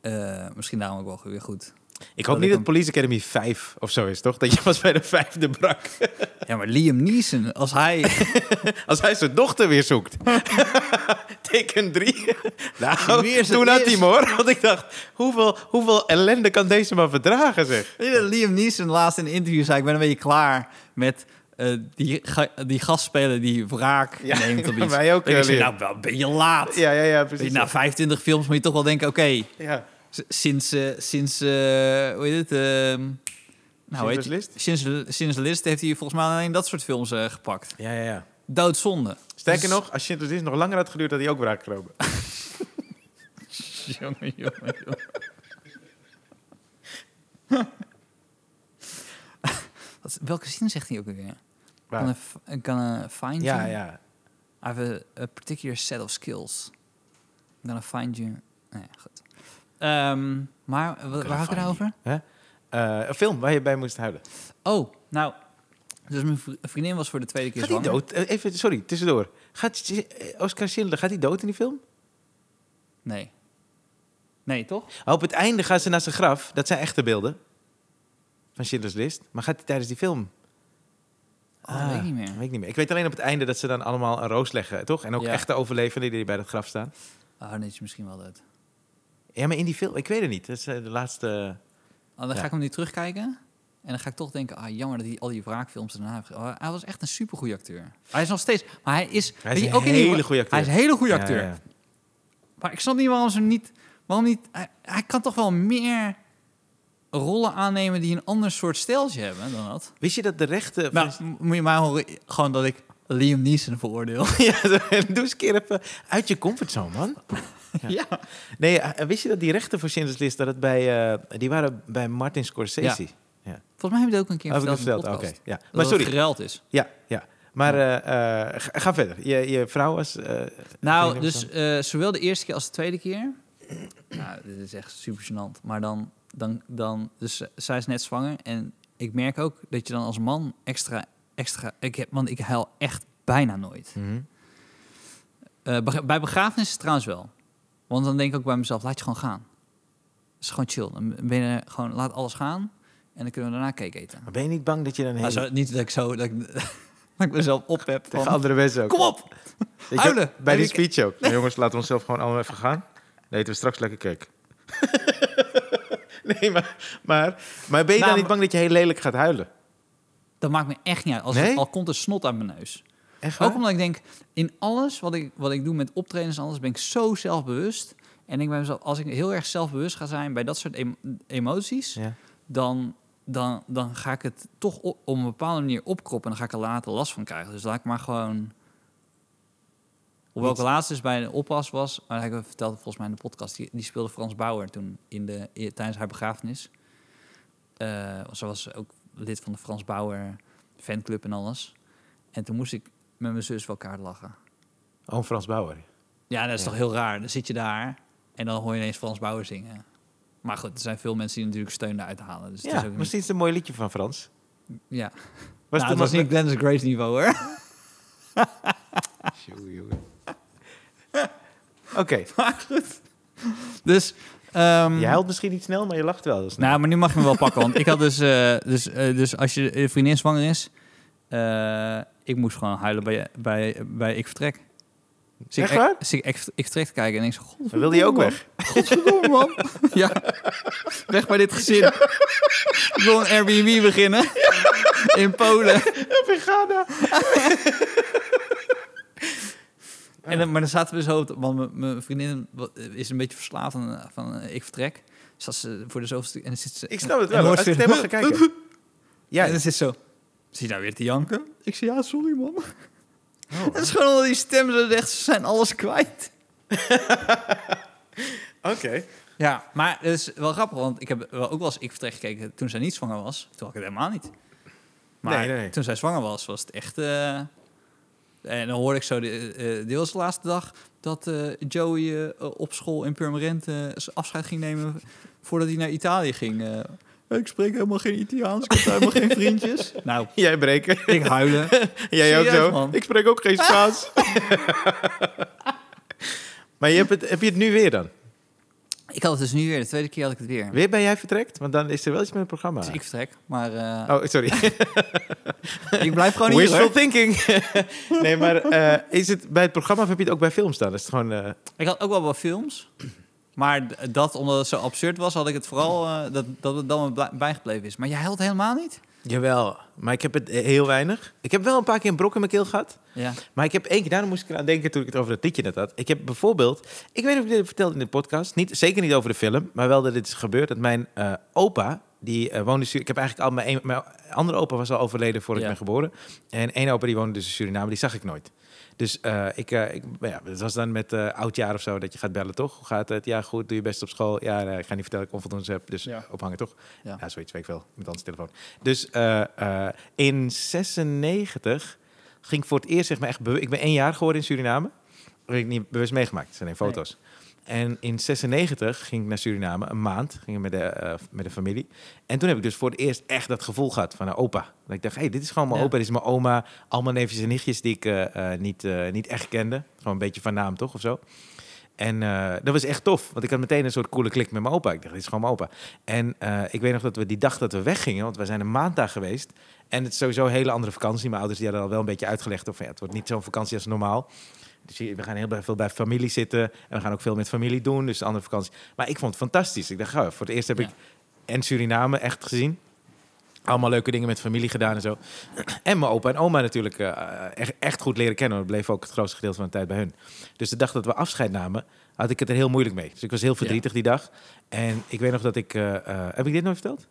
[SPEAKER 2] Eh, misschien daarom ook wel weer goed.
[SPEAKER 1] ik
[SPEAKER 2] ik
[SPEAKER 1] hoop niet dat
[SPEAKER 2] hem-
[SPEAKER 1] Police Academy 5 of zo is, toch? Dat je pas bij de vijfde brak.
[SPEAKER 2] Ja, maar Liam Neeson, als hij...
[SPEAKER 1] Als hij zijn dochter weer zoekt. Teken 3.
[SPEAKER 2] Wie
[SPEAKER 1] nou,
[SPEAKER 2] is het?
[SPEAKER 1] toen had hij
[SPEAKER 2] Wie is-
[SPEAKER 1] hem hoor. Want ik dacht, hoeveel, hoeveel ellende kan deze man verdragen, zeg?
[SPEAKER 2] Weet je dat Liam Neeson laatst in een interview zei... ik ben een beetje klaar met eh, die, ga- die gastspeler die wraak
[SPEAKER 1] Ja,
[SPEAKER 2] neemt op iets.
[SPEAKER 1] mij ook,
[SPEAKER 2] En ik
[SPEAKER 1] eh,
[SPEAKER 2] zei,
[SPEAKER 1] Liam.
[SPEAKER 2] nou, wel een beetje laat.
[SPEAKER 1] Ja, ja, ja,
[SPEAKER 2] Weet
[SPEAKER 1] precies.
[SPEAKER 2] je, na 25 films moet je toch wel denken... oké,
[SPEAKER 1] ja.
[SPEAKER 2] S- Sinds, eh, sinds eh, hoe heet het? ehm, nou,
[SPEAKER 1] Schindler's
[SPEAKER 2] weet je-
[SPEAKER 1] List?
[SPEAKER 2] Sinds, sinds List heeft hij volgens mij alleen dat soort films eh, gepakt.
[SPEAKER 1] ja, ja, ja.
[SPEAKER 2] Doodzonde.
[SPEAKER 1] Sterker
[SPEAKER 2] Dus-
[SPEAKER 1] nog, als Schindler's List nog langer had geduurd, had hij ook wraak genomen.
[SPEAKER 2] jongen, jongen, jongen. Wat- welke zin zegt hij ook alweer?
[SPEAKER 1] Waar?
[SPEAKER 2] Kan een kan find
[SPEAKER 1] Ja,
[SPEAKER 2] you.
[SPEAKER 1] ja.
[SPEAKER 2] I have a, a particular set of skills. I'm gonna find you. Nou ja, goed. Ehm, maar wa- waar had ik het
[SPEAKER 1] find
[SPEAKER 2] nou over?
[SPEAKER 1] Eh, een film waar je bij moest huilen.
[SPEAKER 2] Oh, nou. Dus mijn vri- vriendin was voor de tweede keer
[SPEAKER 1] Gaat hij
[SPEAKER 2] zwanger.
[SPEAKER 1] dood? Eh, Even, sorry, tussendoor. Gaat Sch- eh, Oscar Schindler, gaat hij dood in die film?
[SPEAKER 2] Nee. Nee, toch?
[SPEAKER 1] Oh, op het einde gaan ze naar zijn graf. Dat zijn echte beelden. Van Schindler's List. Maar gaat hij tijdens die film? Ah.
[SPEAKER 2] Oh, dat weet ik niet meer.
[SPEAKER 1] Weet ik niet meer. Ik weet alleen op het einde dat ze dan allemaal een roos leggen, toch? En ook
[SPEAKER 2] Ja.
[SPEAKER 1] echte overlevenden die bij dat graf staan.
[SPEAKER 2] Oh, dan is hij misschien wel dood.
[SPEAKER 1] Ja, maar in die film, ik weet het niet. Dat is eh, de laatste...
[SPEAKER 2] Oh, dan
[SPEAKER 1] Ja.
[SPEAKER 2] ga ik hem nu terugkijken. En dan ga ik toch denken, ah, jammer dat hij al die wraakfilms daarna heeft ge- Oh, Hij was echt een supergoeie acteur. Hij is nog steeds... Maar hij is...
[SPEAKER 1] Hij
[SPEAKER 2] weet
[SPEAKER 1] is
[SPEAKER 2] je,
[SPEAKER 1] een
[SPEAKER 2] ook in die-
[SPEAKER 1] hele goede acteur.
[SPEAKER 2] Hij is een hele goede acteur.
[SPEAKER 1] Ja, ja, ja.
[SPEAKER 2] Maar ik snap niet waarom ze hem niet... Waarom niet hij, hij kan toch wel meer rollen aannemen die een ander soort stijltje hebben dan dat.
[SPEAKER 1] Wist je dat de rechten...
[SPEAKER 2] Nou, m- moet je mij horen gewoon dat ik Liam Neeson veroordeel.
[SPEAKER 1] ja, doe eens een keer even uit je comfortzone, man. Ja. Nee, eh, wist je dat die rechten voor Schindler's List, dat het bij, eh, die waren bij Martin Scorsese?
[SPEAKER 2] Ja. Volgens mij heb je dat ook een keer
[SPEAKER 1] Heb ik dat
[SPEAKER 2] verteld in
[SPEAKER 1] verteld?
[SPEAKER 2] de
[SPEAKER 1] Oké,
[SPEAKER 2] podcast.
[SPEAKER 1] ja.
[SPEAKER 2] Dat
[SPEAKER 1] Maar
[SPEAKER 2] het
[SPEAKER 1] sorry,
[SPEAKER 2] geruild is.
[SPEAKER 1] ja, ja. Maar eh, eh, ga, ga verder. Je, je vrouw was... eh,
[SPEAKER 2] Nou,
[SPEAKER 1] vriendin was
[SPEAKER 2] dus eh, zowel de eerste keer als de tweede keer. nou, dit is echt super gênant. Maar dan, dan, dan dus eh, zij is net zwanger. En ik merk ook dat je dan als man extra, extra... Ik heb, want ik huil echt bijna nooit.
[SPEAKER 1] dan. Mhm.
[SPEAKER 2] Eh, beg- bij begrafenissen trouwens wel. Want dan denk ik ook bij mezelf, laat je gewoon gaan. Het is gewoon chill. Dan ben je er gewoon, laat alles gaan. En dan kunnen we daarna cake eten.
[SPEAKER 1] Maar ben je niet bang dat je dan heel...
[SPEAKER 2] Maar Ah, Nou, zo, niet dat ik zo... Dat ik, dat ik mezelf op heb
[SPEAKER 1] Tegen
[SPEAKER 2] van...
[SPEAKER 1] andere mensen ook.
[SPEAKER 2] Kom op!
[SPEAKER 1] Weet je,
[SPEAKER 2] huilen!
[SPEAKER 1] Bij die
[SPEAKER 2] Ik-
[SPEAKER 1] speech ook. Nou, jongens, laten we onszelf gewoon allemaal even gaan. Dan eten we straks lekker cake. nee, maar, maar, maar ben je
[SPEAKER 2] Nou,
[SPEAKER 1] dan niet bang dat je heel lelijk gaat huilen?
[SPEAKER 2] Dat maakt me echt niet uit. Als
[SPEAKER 1] Nee?
[SPEAKER 2] het, al komt er snot uit mijn neus.
[SPEAKER 1] Echt
[SPEAKER 2] Ook omdat ik denk, in alles wat ik, wat ik doe met optredens en alles, ben ik zo zelfbewust. En ik ben mezelf, als ik heel erg zelfbewust ga zijn bij dat soort em- emoties,
[SPEAKER 1] Ja.
[SPEAKER 2] dan, dan, dan ga ik het toch op, op een bepaalde manier opkroppen. En dan ga ik er later last van krijgen. Dus laat ik maar gewoon... Hoewel ik
[SPEAKER 1] Niet-
[SPEAKER 2] laatst dus bij een oppas was, maar dat heb ik vertelde volgens mij in de podcast, die, die speelde Frans Bauer toen in de, i- tijdens haar begrafenis. Eh, ze was ook lid van de Frans Bauer fanclub en alles. En toen moest ik met mijn zus wel elkaar lachen.
[SPEAKER 1] Oh, Frans Bauer.
[SPEAKER 2] Ja, dat is
[SPEAKER 1] Ja.
[SPEAKER 2] toch heel raar. Dan zit je daar en dan hoor je ineens Frans Bauer zingen. Maar goed, er zijn veel mensen die natuurlijk steun daaruit halen. Dus het is
[SPEAKER 1] ja,
[SPEAKER 2] ook niet-
[SPEAKER 1] misschien is het een mooi liedje van Frans.
[SPEAKER 2] ja.
[SPEAKER 1] Was
[SPEAKER 2] nou,
[SPEAKER 1] het
[SPEAKER 2] het was niet Glennis Grace niveau hoor.
[SPEAKER 1] Tjoe, jongen. Oké,
[SPEAKER 2] Dus, ehm,
[SPEAKER 1] je huilt misschien niet snel, maar je lacht wel. heel snel.
[SPEAKER 2] nou, maar nu mag je me wel pakken. Want ik had dus, eh, dus, eh, dus als je eh, vriendin zwanger is, eh, ik moest gewoon huilen bij, bij, bij Ik Vertrek. Zie ik,
[SPEAKER 1] Echt waar?
[SPEAKER 2] zie ik, ik, ik vertrek te kijken en ik zeg, god,
[SPEAKER 1] Dan wilde je ook weg.
[SPEAKER 2] Godverdomme, man. Ja. Weg bij dit gezin. Ik wil een Airbnb beginnen. In Polen.
[SPEAKER 1] Vegana.
[SPEAKER 2] En dan, maar dan zaten we zo... op de- Want mijn- mijn vriendin wa- is een beetje verslaafd aan, eh, van eh, ik vertrek. Dus als ze voor de zoveelste... En dan zit ze,
[SPEAKER 1] Ik snap het
[SPEAKER 2] en
[SPEAKER 1] wel.
[SPEAKER 2] hoort
[SPEAKER 1] Als ik het
[SPEAKER 2] ze-
[SPEAKER 1] helemaal ga kijken. Ja,
[SPEAKER 2] En dan zit ze zo... Zie je nou weer te janken? Ik zeg, ja, sorry, man.
[SPEAKER 1] Oh.
[SPEAKER 2] Dat is gewoon omdat die stem zo zegt, ze zijn alles kwijt.
[SPEAKER 1] oké.
[SPEAKER 2] Ja, maar het is wel grappig, want ik heb wel ook wel eens ik vertrek gekeken toen zij niet zwanger was. Toen had ik het helemaal niet. Maar
[SPEAKER 1] Nee, nee.
[SPEAKER 2] toen zij zwanger was, was het echt. eh, en dan hoorde ik zo de, eh, deels de laatste dag dat eh, Joey eh, op school in Purmerend eh, zijn afscheid ging nemen voordat hij naar Italië ging. eh. ik spreek helemaal geen Italiaans, ik heb daar helemaal geen vriendjes. Nou,
[SPEAKER 1] Jij breken.
[SPEAKER 2] ik huilen.
[SPEAKER 1] Jij ook
[SPEAKER 2] Serieus,
[SPEAKER 1] zo.
[SPEAKER 2] man.
[SPEAKER 1] Ik spreek ook geen Spaans. maar je hebt het, heb je het nu weer dan?
[SPEAKER 2] Ik had het dus nu weer, de tweede keer had ik het weer.
[SPEAKER 1] Weer ben jij vertrekt? Want dan is er wel iets met het programma.
[SPEAKER 2] Dus ik vertrek, maar eh,
[SPEAKER 1] Oh, sorry.
[SPEAKER 2] ik blijf gewoon hier.
[SPEAKER 1] Wishful
[SPEAKER 2] hoor.
[SPEAKER 1] thinking. nee, maar eh, is het bij het programma of heb je het ook bij film staan? Is het gewoon... eh,
[SPEAKER 2] Ik had ook wel wat films. Maar d- dat, omdat het zo absurd was, had ik het vooral eh, dat, dat het dan wel bla- bijgebleven is. Maar jij huilt helemaal niet?
[SPEAKER 1] Jawel, maar ik heb het eh, heel weinig. Ik heb wel een paar keer een brok in mijn keel gehad.
[SPEAKER 2] Ja.
[SPEAKER 1] Maar ik heb één keer, daarom moest ik eraan denken toen ik het over dat liedje net had. Ik heb bijvoorbeeld, ik weet niet of ik dit vertelde in de podcast, niet, zeker niet over de film, maar wel dat dit is gebeurd. Dat mijn eh, opa, die eh, woonde in Suriname, ik heb eigenlijk al mijn, een- mijn andere opa was al overleden voordat
[SPEAKER 2] Ja.
[SPEAKER 1] ik ben geboren. En één opa die woonde dus in Suriname, die zag ik nooit. Dus eh, ik, eh, ik, maar ja, het was dan met eh oudjaar of zo dat je gaat bellen, toch? Hoe gaat het? Ja, goed, doe je best op school. Ja, eh, ik ga niet vertellen dat ik onvoldoende heb, dus
[SPEAKER 2] Ja.
[SPEAKER 1] ophangen, toch?
[SPEAKER 2] Ja.
[SPEAKER 1] Ja. zoiets weet ik wel, met anders telefoon. Dus eh, eh, in 96 ging ik voor het eerst, zeg maar echt, bewu- ik ben één jaar geworden in Suriname. Dat heb ik niet bewust meegemaakt, het zijn alleen
[SPEAKER 2] Nee.
[SPEAKER 1] foto's. En in 96 ging ik naar Suriname, een maand, ging ik met de, eh, met de familie. En toen heb ik dus voor het eerst echt dat gevoel gehad van een opa. Dat ik dacht, hé, hey, dit is gewoon mijn
[SPEAKER 2] Ja.
[SPEAKER 1] opa, dit is mijn oma. Allemaal neefjes en nichtjes die ik eh, eh, niet, eh, niet echt kende. Gewoon een beetje van naam, toch, of zo. En eh, dat was echt tof, want ik had meteen een soort coole klik met mijn opa. Ik dacht, dit is gewoon mijn opa. En eh, ik weet nog dat we die dag dat we weggingen, want we zijn een maand daar geweest. En het is sowieso een hele andere vakantie. Mijn ouders die hadden al wel een beetje uitgelegd of ja, het wordt niet zo'n vakantie als normaal. Dus hier- we gaan heel bij- veel bij familie zitten en we gaan ook veel met familie doen. Dus een andere oh, vakantie. Maar ik vond het fantastisch. Ik dacht, goh, voor het eerst heb
[SPEAKER 2] Ja.
[SPEAKER 1] ik en Suriname echt gezien. Allemaal leuke dingen met familie gedaan en zo. En mijn opa en oma natuurlijk eh, echt, echt goed leren kennen. want We bleven ook het grootste gedeelte van de tijd bij hun. Dus de dag dat we afscheid namen, had ik het er heel moeilijk mee. Dus ik was heel verdrietig die dag. En ik weet nog dat ik... eh, eh, heb ik dit nooit verteld?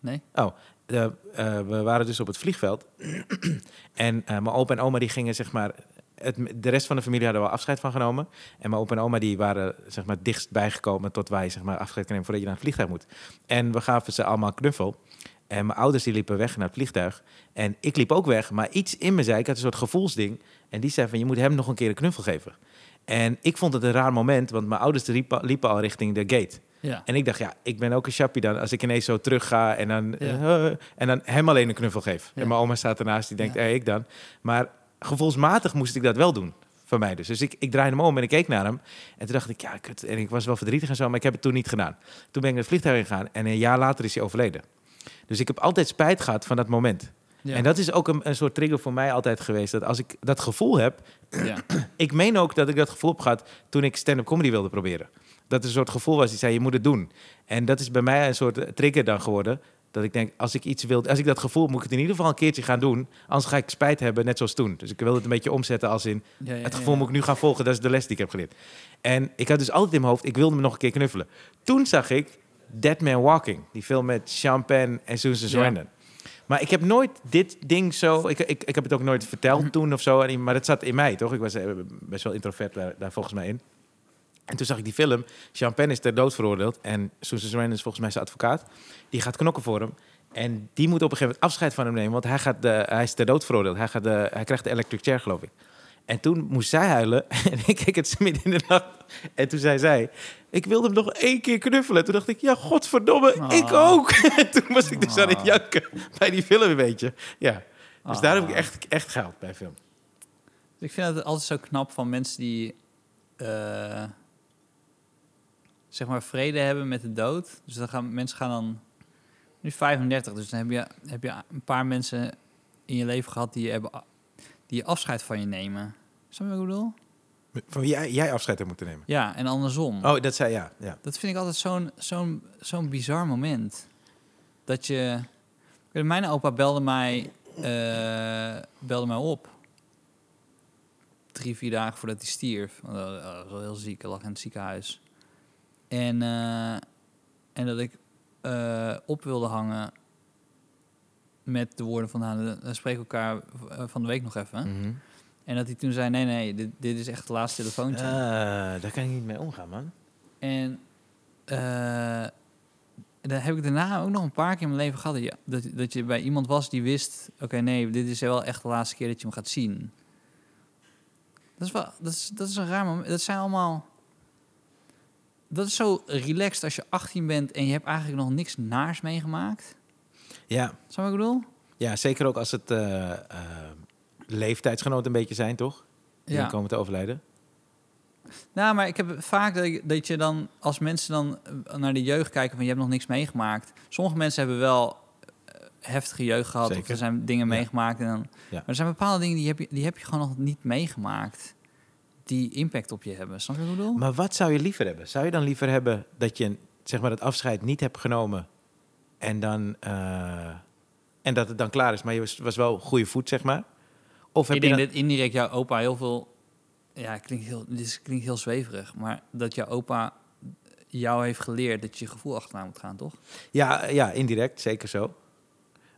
[SPEAKER 2] Nee.
[SPEAKER 1] Oh, de, eh, we waren dus op het vliegveld. en eh, mijn opa en oma die gingen zeg maar... Het, de rest van de familie hadden wel afscheid van genomen. En mijn opa en oma die waren zeg maar dichtst bijgekomen... tot wij zeg maar afscheid kunnen nemen voordat je naar het vliegtuig moet. En we gaven ze allemaal een knuffel. En mijn ouders die liepen weg naar het vliegtuig. En ik liep ook weg, maar iets in me zei... Ik had een soort gevoelsding. En die zei van, je moet hem nog een keer een knuffel geven. En ik vond het een raar moment, want mijn ouders liepen, liepen al richting de gate.
[SPEAKER 2] Ja.
[SPEAKER 1] En ik dacht, ja, ik ben ook een chappie dan. Als ik ineens zo terug ga en dan,
[SPEAKER 2] Ja.
[SPEAKER 1] eh, eh, en dan hem alleen een knuffel geef.
[SPEAKER 2] Ja.
[SPEAKER 1] En mijn oma staat ernaast, die denkt,
[SPEAKER 2] Ja.
[SPEAKER 1] hé, ik dan. Maar gevoelsmatig moest ik dat wel doen, van mij dus. Dus ik, ik draaide hem om en ik keek naar hem. En toen dacht ik, ja, kut. En ik was wel verdrietig en zo, maar ik heb het toen niet gedaan. Toen ben ik naar het vliegtuig ingegaan en een jaar later is hij overleden. Dus ik heb altijd spijt gehad van dat moment.
[SPEAKER 2] Ja.
[SPEAKER 1] En dat is ook een, een soort trigger voor mij altijd geweest. Dat als ik dat gevoel heb,
[SPEAKER 2] ja.
[SPEAKER 1] ik meen ook dat ik dat gevoel heb gehad toen ik stand-up comedy wilde proberen. Dat er een soort gevoel was die zei, je moet het doen. En dat is bij mij een soort eh, trigger dan geworden. Dat ik denk, als ik iets wil, als ik dat gevoel heb, moet ik het in ieder geval een keertje gaan doen. Anders ga ik spijt hebben, net zoals toen. Dus ik wil het een beetje omzetten als in,
[SPEAKER 2] Ja, ja,
[SPEAKER 1] het
[SPEAKER 2] ja,
[SPEAKER 1] gevoel
[SPEAKER 2] ja.
[SPEAKER 1] moet ik nu gaan volgen. Dat is de les die ik heb geleerd. En ik had dus altijd in mijn hoofd, ik wilde me nog een keer knuffelen. Toen zag ik Dead Man Walking. Die film met Sean Penn en Susan
[SPEAKER 2] Ja.
[SPEAKER 1] Sarandon. Maar ik heb nooit dit ding zo... Ik, ik, ik heb het ook nooit
[SPEAKER 2] Mhm.
[SPEAKER 1] verteld toen of zo. en- Maar dat zat in mij, toch? Ik was eh, best wel introvert daar, daar volgens mij in. En toen zag ik die film. Sean Penn is ter dood veroordeeld. En Susan Sarandon is volgens mij zijn advocaat. Die gaat knokken voor hem. En die moet op een gegeven moment afscheid van hem nemen. Want hij, gaat de, hij is ter dood veroordeeld. Hij, gaat de, hij krijgt de electric chair, geloof ik. En toen moest zij huilen. En ik keek het midden in de nacht. En toen zei zij... Ik wilde hem nog één keer knuffelen. Toen dacht ik, ja, godverdomme,
[SPEAKER 2] Ah.
[SPEAKER 1] ik ook. En toen was ik dus aan het
[SPEAKER 2] Ah.
[SPEAKER 1] janken bij die film, weet je. Ja, dus
[SPEAKER 2] Ah.
[SPEAKER 1] daar heb ik echt, echt gehaald bij film.
[SPEAKER 2] Ik vind het altijd zo knap van mensen die eh, zeg maar vrede hebben met de dood. Dus dan gaan mensen gaan dan nu 35, dus dan heb je, heb je een paar mensen in je leven gehad die hebben a- die afscheid van je nemen. Snap je wat ik bedoel?
[SPEAKER 1] Van wie jij, jij afscheid hebt moeten nemen.
[SPEAKER 2] Ja, en andersom.
[SPEAKER 1] Oh, dat zei ja. ja.
[SPEAKER 2] Dat vind ik altijd zo'n zo'n zo'n bizar moment. Dat je... Ik weet, Mijn opa belde mij, eh, belde mij op. Drie, vier dagen voordat hij stierf. Want hij was wel heel ziek. Hij lag in het ziekenhuis. En, eh, en dat ik eh, op wilde hangen met de woorden van... Nou, dan spreken we elkaar eh, van de week nog even.
[SPEAKER 1] Mhm.
[SPEAKER 2] En dat hij toen zei... Nee, nee, dit, dit is echt het laatste telefoontje.
[SPEAKER 1] Ah, daar kan ik niet mee omgaan, man.
[SPEAKER 2] En eh dan heb ik daarna ook nog een paar keer in mijn leven gehad. Dat je, dat, dat je bij iemand was die wist: oké, nee, dit is wel echt de laatste keer dat je hem gaat zien. Dat is, wel, dat is, dat is een raar moment. Dat zijn allemaal. Dat is zo relaxed als je 18 bent en je hebt eigenlijk nog niks naars meegemaakt.
[SPEAKER 1] Ja,
[SPEAKER 2] Snap je wat ik bedoel?
[SPEAKER 1] ja zeker ook als het eh, eh, leeftijdsgenoten een beetje zijn, toch? Die
[SPEAKER 2] Ja.
[SPEAKER 1] komen te overlijden.
[SPEAKER 2] Nou, maar ik heb vaak dat, ik- dat je dan, als mensen dan eh, naar de jeugd kijken van je hebt nog niks meegemaakt. Sommige mensen hebben wel eh, heftige jeugd gehad of
[SPEAKER 1] Zeker.
[SPEAKER 2] er zijn dingen
[SPEAKER 1] Ja.
[SPEAKER 2] meegemaakt. En dan, Maar er zijn bepaalde dingen die heb, je, die heb je gewoon nog niet meegemaakt. Die impact op je hebben. Snap je wat ik bedoel?
[SPEAKER 1] Maar wat zou je liever hebben? Zou je dan liever hebben dat je zeg maar, het afscheid niet hebt genomen en, dan, eh, en dat het dan klaar is, maar je was, was wel goede voet, zeg maar? Of heb
[SPEAKER 2] ik
[SPEAKER 1] je
[SPEAKER 2] denk
[SPEAKER 1] dan-
[SPEAKER 2] dat indirect jouw opa heel veel... Ja, het klinkt heel, dit is- klinkt heel zweverig. Maar dat jouw opa jou heeft geleerd dat je je gevoel achterna moet gaan, toch?
[SPEAKER 1] ja, ja, indirect, zeker zo.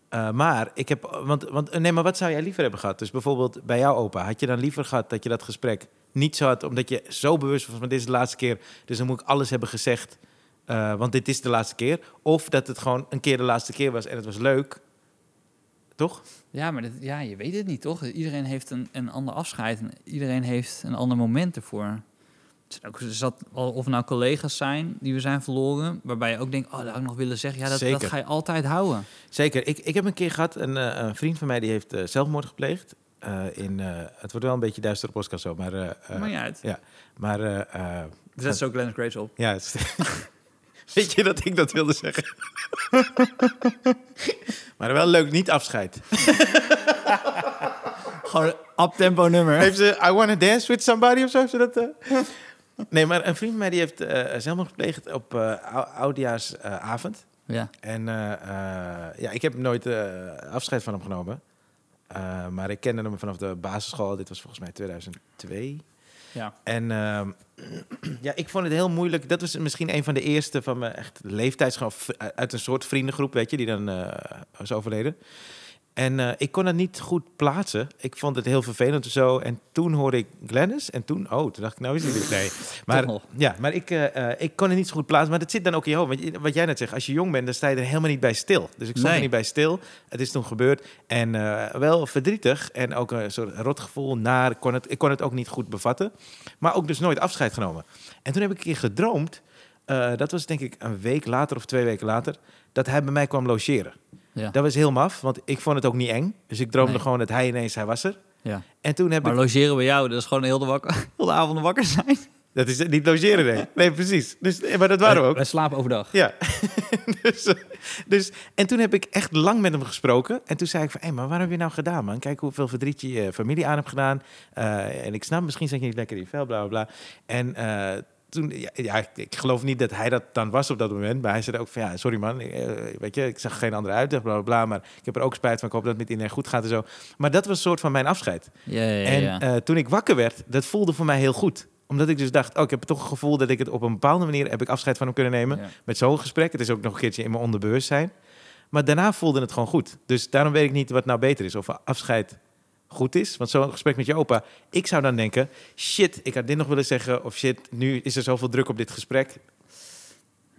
[SPEAKER 1] Eh, maar ik heb, want, want eh, nee, maar wat zou jij liever hebben gehad? Dus bijvoorbeeld bij jouw opa, had je dan liever gehad dat je dat gesprek niet zo had, omdat je zo bewust was van dit is de laatste keer, dus dan moet ik alles hebben gezegd, eh, want dit is de laatste keer. Of dat het gewoon een keer de laatste keer was en het was leuk, toch?
[SPEAKER 2] Ja, maar dat, ja, je weet het niet, toch? Iedereen heeft een, een ander afscheid. En iedereen heeft een ander moment ervoor. Het zijn ook- Er zat, al- of het nou collega's zijn die we zijn verloren... waarbij je ook denkt, oh, dat had ik nog willen zeggen. Ja, dat, dat
[SPEAKER 1] Zeker.
[SPEAKER 2] ga je altijd houden.
[SPEAKER 1] Zeker. Ik, ik heb een keer gehad, een, eh, een vriend van mij die heeft eh, zelfmoord gepleegd. Eh, in, eh, het wordt wel een beetje duistere podcast zo, maar... eh, eh,
[SPEAKER 2] Maakt niet uit.
[SPEAKER 1] maar eh, eh,
[SPEAKER 2] Dus dat is ook Glenn Grace op.
[SPEAKER 1] ja, het is- weet je dat ik dat wilde zeggen? maar wel leuk, niet afscheid.
[SPEAKER 2] Gewoon een uptempo nummer.
[SPEAKER 1] Heeft ze I Wanna Dance With Somebody of zo? Heeft ze dat, eh? Nee, maar een vriend van mij die heeft eh zelfmoord gepleegd op eh ou- oudjaarsavond.
[SPEAKER 2] Ja.
[SPEAKER 1] En eh, eh, ja, ik heb nooit eh, afscheid van hem genomen. Eh, maar ik kende hem vanaf de basisschool. Dit was volgens mij 2002.
[SPEAKER 2] Ja.
[SPEAKER 1] En ehm, ja, ik vond het heel moeilijk. Dat was misschien een van de eerste van mijn echt leeftijdsgenoot uit een soort vriendengroep, weet je, die dan eh, was overleden. En eh, ik kon het niet goed plaatsen. Ik vond het heel vervelend en zo. En toen hoorde ik Glennis. En toen, oh, toen dacht ik, nou is hij er. Nee. Maar,
[SPEAKER 2] Toch nog.
[SPEAKER 1] ja, maar ik, eh, eh, ik kon het niet zo goed plaatsen. Maar dat zit dan ook in je hoofd. Want je- wat jij net zegt, als je jong bent, dan sta je er helemaal niet bij stil. Dus ik stond
[SPEAKER 2] Nee.
[SPEAKER 1] er niet bij stil. Het is toen gebeurd. En eh, wel verdrietig. En ook een soort rot gevoel. Naar, ik, kon het, ik kon het ook niet goed bevatten. Maar ook dus nooit afscheid genomen. En toen heb ik een keer gedroomd. eh, dat was denk ik een week later of twee weken later. Dat hij bij mij kwam logeren.
[SPEAKER 2] Ja.
[SPEAKER 1] Dat was heel maf, want ik vond het ook niet eng. Dus ik droomde
[SPEAKER 2] Nee.
[SPEAKER 1] gewoon dat hij ineens, hij was er.
[SPEAKER 2] ja.
[SPEAKER 1] En toen heb
[SPEAKER 2] Maar
[SPEAKER 1] ik...
[SPEAKER 2] logeren bij jou, dat is gewoon heel de, wakker, heel de avond wakker zijn.
[SPEAKER 1] Dat is niet logeren, nee. Nee, precies. Dus, eh, maar dat waren we ook.
[SPEAKER 2] We slapen overdag.
[SPEAKER 1] Ja. dus, eh, dus, en toen heb ik echt lang met hem gesproken. En toen zei ik van, hé, maar waarom heb je nou gedaan, man? Kijk hoeveel verdriet je je familie aan hebt gedaan. Eh, en ik snap, misschien zat je niet lekker in je vel, bla, bla, bla. En eh, toen, ja, ja, ik, ik geloof niet dat hij dat dan was op dat moment. Maar hij zei ook van, ja, sorry man, eh, weet je, ik zag geen andere uitweg, bla, bla, bla. Maar ik heb er ook spijt van, ik hoop dat het met iedereen goed gaat en zo. Maar dat was een soort van mijn afscheid.
[SPEAKER 2] Ja, ja, ja.
[SPEAKER 1] En
[SPEAKER 2] ja.
[SPEAKER 1] eh, toen ik wakker werd, dat voelde voor mij heel goed. Omdat ik dus dacht, oh, ik heb toch een gevoel dat ik het op een bepaalde manier heb ik afscheid van hem kunnen nemen.
[SPEAKER 2] Ja.
[SPEAKER 1] Met zo'n gesprek. Het is ook nog een keertje in mijn onderbewustzijn. Maar daarna voelde het gewoon goed. Dus daarom weet ik niet wat nou beter is. Of afscheid goed is. Want zo'n gesprek met je opa, ik zou dan denken, shit, ik had dit nog willen zeggen. Of shit, nu is er zoveel druk op dit gesprek.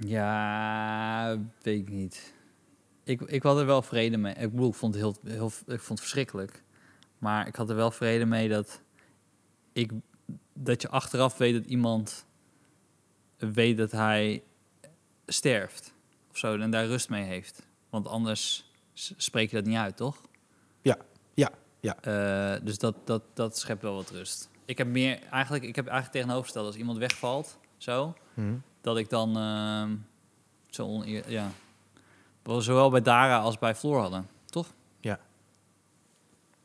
[SPEAKER 2] Ja, weet ik niet. Ik, ik had er wel vrede mee. Ik bedoel, ik vond het, heel, heel, ik vond het verschrikkelijk. Maar ik had er wel vrede mee dat, ik, dat je achteraf weet dat iemand weet dat hij sterft. Of zo, en daar rust mee heeft. Want anders s- spreek je dat niet uit, toch?
[SPEAKER 1] Ja, ja, ja.
[SPEAKER 2] Eh, dus dat, dat, dat schept wel wat rust. Ik heb meer, eigenlijk, ik heb eigenlijk tegenovergesteld als iemand wegvalt, zo,
[SPEAKER 1] Hm.
[SPEAKER 2] dat ik dan ehm, zo oneer... Ja. Wat we zowel bij Dara als bij Floor hadden, toch?
[SPEAKER 1] Ja.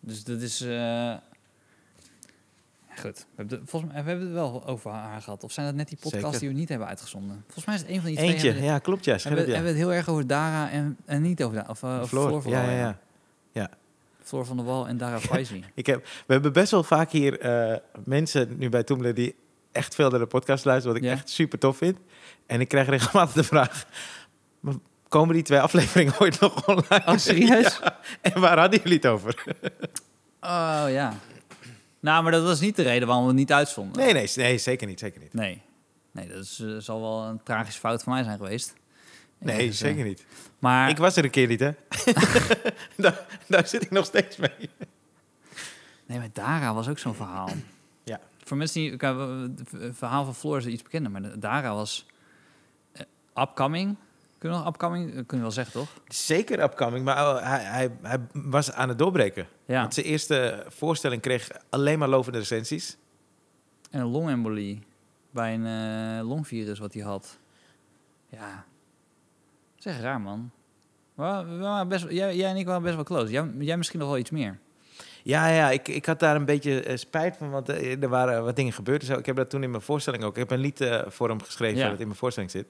[SPEAKER 2] Dus dat is... eh, ja, Goed, we hebben, het- volgens mij, we hebben het wel over haar gehad. Of zijn dat net die podcasts
[SPEAKER 1] Zeker.
[SPEAKER 2] die we niet hebben uitgezonden? Volgens mij is het een van die twee.
[SPEAKER 1] Eentje,
[SPEAKER 2] hebben,
[SPEAKER 1] ja, klopt ja.
[SPEAKER 2] hebben,
[SPEAKER 1] Scherp, ja.
[SPEAKER 2] hebben we het heel erg over Dara en, en niet over, Da- of, eh, over Floor.
[SPEAKER 1] Floor,
[SPEAKER 2] vooral,
[SPEAKER 1] ja, ja, ja.
[SPEAKER 2] Floor van de Wal en Dara Faizi.
[SPEAKER 1] Ik heb, we hebben best wel vaak hier eh, mensen nu bij Toemler die echt veel naar de podcast luisteren, wat ik
[SPEAKER 2] Ja.
[SPEAKER 1] echt super tof vind. En ik krijg regelmatig de vraag: "Maar komen die twee afleveringen ooit nog online?
[SPEAKER 2] Oh, serieus?
[SPEAKER 1] Ja. En waar hadden jullie het over?
[SPEAKER 2] Oh ja. Nou, maar dat was niet de reden waarom we het niet uitzonden.
[SPEAKER 1] Nee, nee, nee zeker niet, zeker niet.
[SPEAKER 2] Nee, nee dat is, eh, zal wel een tragische fout van mij zijn geweest.
[SPEAKER 1] Nee, dus,
[SPEAKER 2] Ergens, eh,
[SPEAKER 1] zeker niet.
[SPEAKER 2] Maar
[SPEAKER 1] Ik was er een keer niet, hè? daar, daar zit ik nog steeds mee.
[SPEAKER 2] nee, maar Dara was ook zo'n verhaal.
[SPEAKER 1] Ja.
[SPEAKER 2] Voor mensen die... kijk, we- we- Het verhaal van Floor is iets bekender, maar de- Dara was eh, upcoming. Kunnen we nog upcoming? Eh, Kunnen we wel zeggen, toch?
[SPEAKER 1] Zeker upcoming, maar oh, hij, hij, hij was aan het doorbreken.
[SPEAKER 2] Ja.
[SPEAKER 1] Want zijn eerste voorstelling kreeg alleen maar lovende recensies.
[SPEAKER 2] En een longembolie bij een eh, longvirus wat hij had. Ja. Dat is echt raar, man. Maar we waren best, jij, jij en ik waren best wel close. Jij, jij misschien nog wel iets meer.
[SPEAKER 1] Ja, ja ik, ik had daar een beetje eh, spijt van, want eh, er waren wat dingen gebeurd. en zo. Ik heb dat toen in mijn voorstelling ook. Ik heb een lied eh, voor hem geschreven
[SPEAKER 2] Ja.
[SPEAKER 1] dat in mijn voorstelling zit.